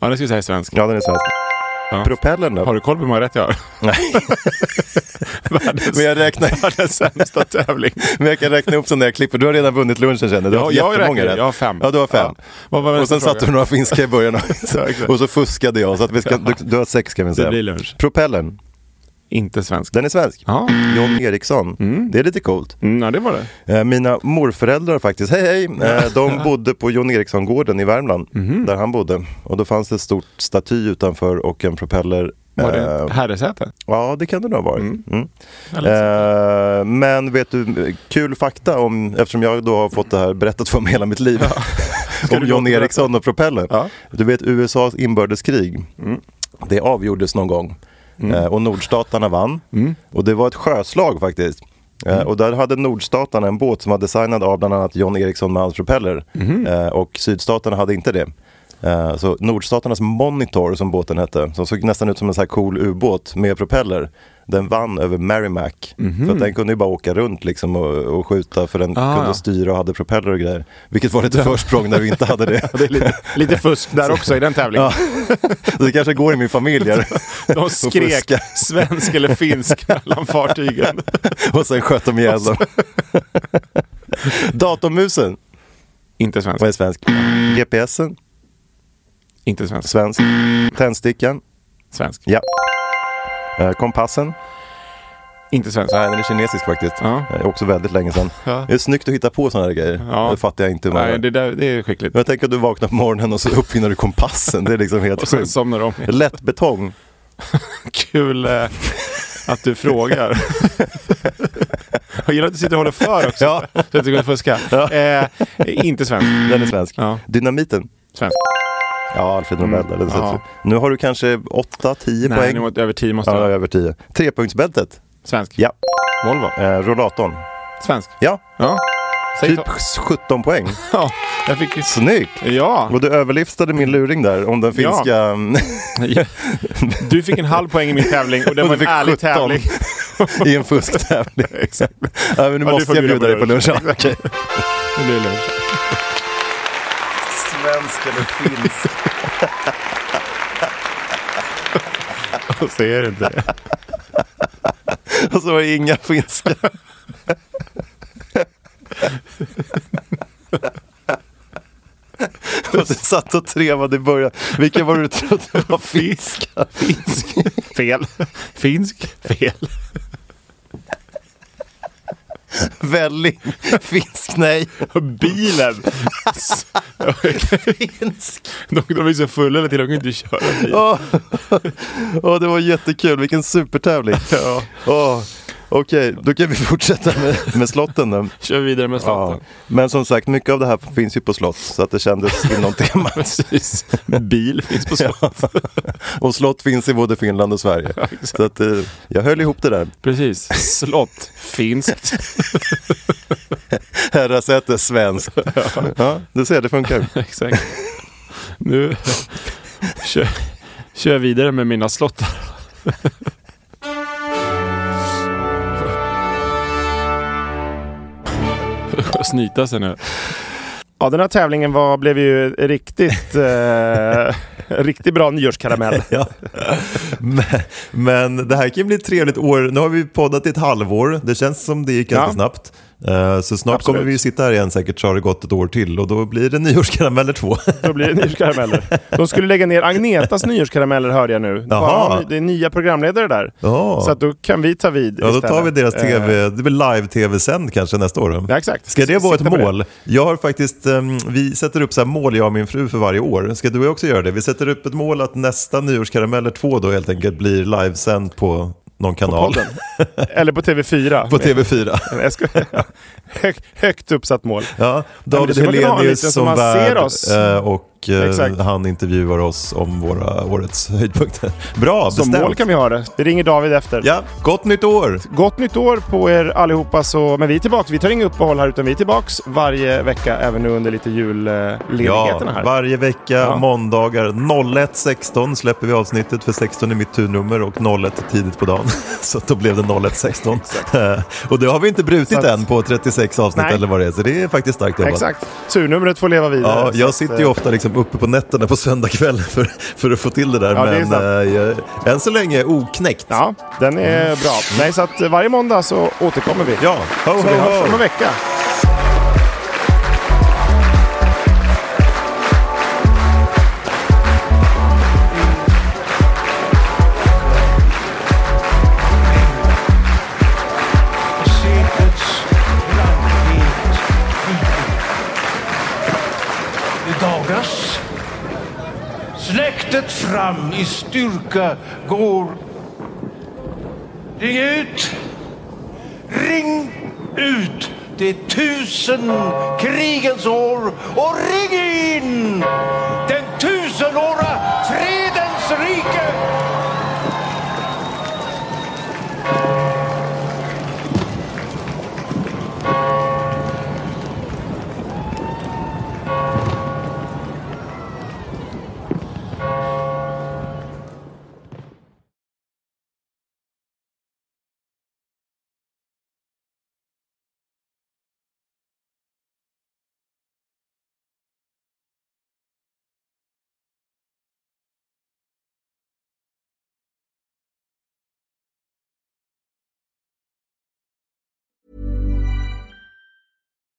Speaker 2: Ja, nu ska vi säga svensk.
Speaker 3: Ja, den är svensk.
Speaker 2: Ja.
Speaker 3: Propellern då?
Speaker 2: Har du koll på hur många rätt jag har?
Speaker 3: Nej,
Speaker 2: Världens,
Speaker 3: men jag, räknar,
Speaker 2: världens sämsta tävling.
Speaker 3: men jag kan räkna upp sen när jag klipper. Du har redan vunnit lunchen känner du. Du har
Speaker 2: jag, jag,
Speaker 3: jättemånga
Speaker 2: räknar,
Speaker 3: rätt.
Speaker 2: jag har fem.
Speaker 3: Ja, du har fem.
Speaker 2: Ja. Vad var
Speaker 3: Och
Speaker 2: nästa
Speaker 3: sen satte
Speaker 2: fråga?
Speaker 3: du några finska i början.
Speaker 2: Ja, exakt.
Speaker 3: och så fuskade jag. Så att vi ska, du, du har sex kan vi säga.
Speaker 2: blir lunch.
Speaker 3: Propellern,
Speaker 2: Inte svensk.
Speaker 3: den är svensk.
Speaker 2: Ja.
Speaker 3: John Eriksson, det är lite coolt.
Speaker 2: Mm, ja, det var det.
Speaker 3: Eh, Mina morföräldrar faktiskt, hej hej, eh, de bodde på John Eriksson-gården i Värmland,
Speaker 2: Mhm.
Speaker 3: där han bodde. Och då fanns det ett stort staty utanför och en propeller.
Speaker 2: Var det
Speaker 3: Eh,
Speaker 2: ett herresäte?
Speaker 3: Ja, det kan det nog ha varit. Mm.
Speaker 2: Väldigt
Speaker 3: Eh, men vet du, kul fakta om, eftersom jag då har fått det här berättat för mig hela mitt liv. om
Speaker 2: du
Speaker 3: John
Speaker 2: återberätta?
Speaker 3: Eriksson och propellern.
Speaker 2: Ja. Mm.
Speaker 3: Du vet USAs inbördeskrig, det avgjordes någon gång. Eh, och nordstaterna vann.
Speaker 2: Mm.
Speaker 3: Och det var ett sjöslag faktiskt. Eh, Och där hade nordstaterna en båt som var designad av bland annat John Eriksson med hans propeller.
Speaker 2: Mhm.
Speaker 3: Eh, Och sydstaterna hade inte det. Eh, Så nordstaternas Monitor som båten hette, som såg nästan ut som en så här cool ubåt med propeller. Den vann över Merrimack. För att den kunde ju bara åka runt liksom och, och skjuta för den
Speaker 2: Mhm. Ah,
Speaker 3: kunde
Speaker 2: ja.
Speaker 3: styra och hade propeller och grejer. Vilket var lite försprång när vi inte hade det.
Speaker 2: Det är lite, lite fusk där också i den tävlingen.
Speaker 3: Ja. Det kanske går i min familj här.
Speaker 2: De skrek
Speaker 3: fuska.
Speaker 2: svensk eller finsk mellan fartygen.
Speaker 3: och sen sköt de ihjäl dem. Datormusen
Speaker 2: Inte svensk.
Speaker 3: var svensk. GPSen,
Speaker 2: Inte svensk.
Speaker 3: svensk. Tändstickan,
Speaker 2: Svensk.
Speaker 3: ja. Eh, Kompassen,
Speaker 2: Inte svensk.
Speaker 3: nej den är kinesisk faktiskt.
Speaker 2: Ja.
Speaker 3: Eh, Också väldigt länge sedan.
Speaker 2: Ja.
Speaker 3: Det är snyggt att hitta på sådana här grejer.
Speaker 2: Ja.
Speaker 3: Det fattar jag inte. hur man
Speaker 2: Nej,
Speaker 3: gör.
Speaker 2: det, där, det är skickligt.
Speaker 3: Men jag tänker att du vaknar på morgonen och så uppfinner du kompassen. Det är liksom helt
Speaker 2: Och sen
Speaker 3: sjukt.
Speaker 2: somnar de.
Speaker 3: Lättbetong.
Speaker 2: Kul eh, att du frågar. Jag gillar att du sitter och håller för också.
Speaker 3: Ja.
Speaker 2: Så att det går att fuska.
Speaker 3: Ja.
Speaker 2: Eh, inte svensk.
Speaker 3: Den är svensk.
Speaker 2: Ja.
Speaker 3: Dynamiten.
Speaker 2: Svensk.
Speaker 3: Ja, Alfred Nobel.
Speaker 2: Mm.
Speaker 3: Eller så.
Speaker 2: Ja.
Speaker 3: Nu har du kanske 8-10
Speaker 2: Nej,
Speaker 3: poäng.
Speaker 2: nu åt- över tio måste
Speaker 3: Ja,
Speaker 2: jag.
Speaker 3: över 10. Trepunktsbältet.
Speaker 2: Svensk.
Speaker 3: Ja.
Speaker 2: Volvo.
Speaker 3: Eh, rollatorn.
Speaker 2: Svensk.
Speaker 3: Ja.
Speaker 2: Ja. Säg
Speaker 3: Typ
Speaker 2: ta-
Speaker 3: 17 poäng.
Speaker 2: Ja, jag fick ju...
Speaker 3: Snyggt!
Speaker 2: Ja,
Speaker 3: Och du överliftade min luring där om den
Speaker 2: Ja.
Speaker 3: finska... mm,
Speaker 2: du fick en halv poäng i min tävling och det
Speaker 3: Och
Speaker 2: var en
Speaker 3: du fick
Speaker 2: ärlig
Speaker 3: 17.
Speaker 2: tävling.
Speaker 3: I en fusktävling. Exakt. Ja, men
Speaker 2: Ja,
Speaker 3: nu
Speaker 2: du
Speaker 3: måste
Speaker 2: får
Speaker 3: jag
Speaker 2: bjuda
Speaker 3: bjuda dig på
Speaker 2: på
Speaker 3: lunch. Okej.
Speaker 2: Nu blir det lunch.
Speaker 3: Svensk eller finsk?
Speaker 2: Och så är det inte det.
Speaker 3: Och så var det inga finska. Och du satt och trevade i början. Vilken var det du trodde var finsk? Finsk.
Speaker 2: Fel. Finsk. Fel.
Speaker 3: Välling. Finsk, nej.
Speaker 2: Bilen! S-
Speaker 3: Finsk.
Speaker 2: de, de är så fulla hela tiden, de kan inte köra bil.
Speaker 3: Åh, Åh, det var jättekul. Vilken supertävling.
Speaker 2: Ja.
Speaker 3: Åh, Okej, då kan vi fortsätta med, med slotten då.
Speaker 2: Kör vidare med
Speaker 3: Ja.
Speaker 2: slotten.
Speaker 3: Men som sagt, mycket av det här finns ju på slott, så att det kändes inom temat.
Speaker 2: Precis. Bil finns på slott.
Speaker 3: Och slott finns i både Finland och Sverige. Så att, eh, jag höll ihop det där.
Speaker 2: Precis. Slott. Finskt.
Speaker 3: Herrasäte, svenskt. Ja, du ser, det funkar.
Speaker 2: Exakt. Nu kör, kör jag vidare med mina slottar. Snyta sig nu. Ja, den här tävlingen var, blev ju riktigt, eh, riktigt bra nyårskaramell.
Speaker 3: Ja. Men, men det här kan ju bli ett trevligt år. Nu har vi poddat i ett halvår. Det känns som det gick ganska
Speaker 2: Ja.
Speaker 3: snabbt. Eh, Så snart
Speaker 2: Absolut.
Speaker 3: kommer vi ju sitta här igen säkert så har det gått ett år till och då blir det nyårskarameller två.
Speaker 2: Då blir det nyårskarameller. De skulle lägga ner Agnetas nyårskarameller hörde jag nu.
Speaker 3: Jaha.
Speaker 2: Bara, Det är nya programledare där.
Speaker 3: Ja.
Speaker 2: Så att då kan vi ta vid
Speaker 3: Ja, då tar vi
Speaker 2: istället.
Speaker 3: deras
Speaker 2: Eh,
Speaker 3: tv, det blir live-tv-sänd kanske nästa år. då.
Speaker 2: Ja, exakt.
Speaker 3: Ska det vara ett
Speaker 2: Sikta på det.
Speaker 3: mål? Jag har faktiskt, ehm, vi sätter upp så här mål jag och min fru för varje år. Ska du och jag också göra det? Vi sätter upp ett mål att nästa nyårskarameller 2 då helt enkelt blir livesänd på någon kanal.
Speaker 2: podden. Eller på TV4.
Speaker 3: På TV4.
Speaker 2: Eh, Jag skojar. Hög, högt uppsatt mål.
Speaker 3: Ja,
Speaker 2: men det
Speaker 3: David
Speaker 2: skulle man kunna ha en liten
Speaker 3: Hellenius
Speaker 2: som
Speaker 3: som
Speaker 2: man
Speaker 3: värd
Speaker 2: ser oss.
Speaker 3: eh, och eh,
Speaker 2: Exakt.
Speaker 3: han intervjuar oss om våra årets höjdpunkter. Bra,
Speaker 2: Som
Speaker 3: bestämt.
Speaker 2: mål kan vi ha det. Vi ringer David efter.
Speaker 3: Ja, gott nytt år!
Speaker 2: Gott nytt år på er allihopa. Så, men vi är tillbaka. Vi tar inga uppehåll här utan vi är tillbaka varje vecka även nu under lite julledigheterna här.
Speaker 3: varje vecka,
Speaker 2: Ja.
Speaker 3: måndagar 01.16 släpper vi avsnittet för 16 är mitt turnummer och 01 tidigt på dagen. Så att då blev det 01.16. Eh, och det har vi inte brutit
Speaker 2: Så att-
Speaker 3: än på 36 avsnitt
Speaker 2: Nej.
Speaker 3: eller vad det är, så det är faktiskt starkt jobbat.
Speaker 2: Exakt. Turnumret får leva vidare.
Speaker 3: Ja,
Speaker 2: Så
Speaker 3: jag
Speaker 2: att,
Speaker 3: sitter ju
Speaker 2: eh,
Speaker 3: ofta liksom uppe på nätterna på söndagkväll för, för att få till det där.
Speaker 2: Ja, det är
Speaker 3: men
Speaker 2: sant.
Speaker 3: eh, jag, än så länge oknäckt.
Speaker 2: Ja, den
Speaker 3: Mm.
Speaker 2: är bra. Nej, så att eh, varje måndag så återkommer vi.
Speaker 3: ja. Ho, ho,
Speaker 2: Så vi hörs om
Speaker 3: ho.
Speaker 2: en vecka.
Speaker 1: seklets blankhet Det dagas Släktet fram i styrka går Ring ut! Ring ut! Det är tusen krigens år och ring in den tusenåra fredens rike!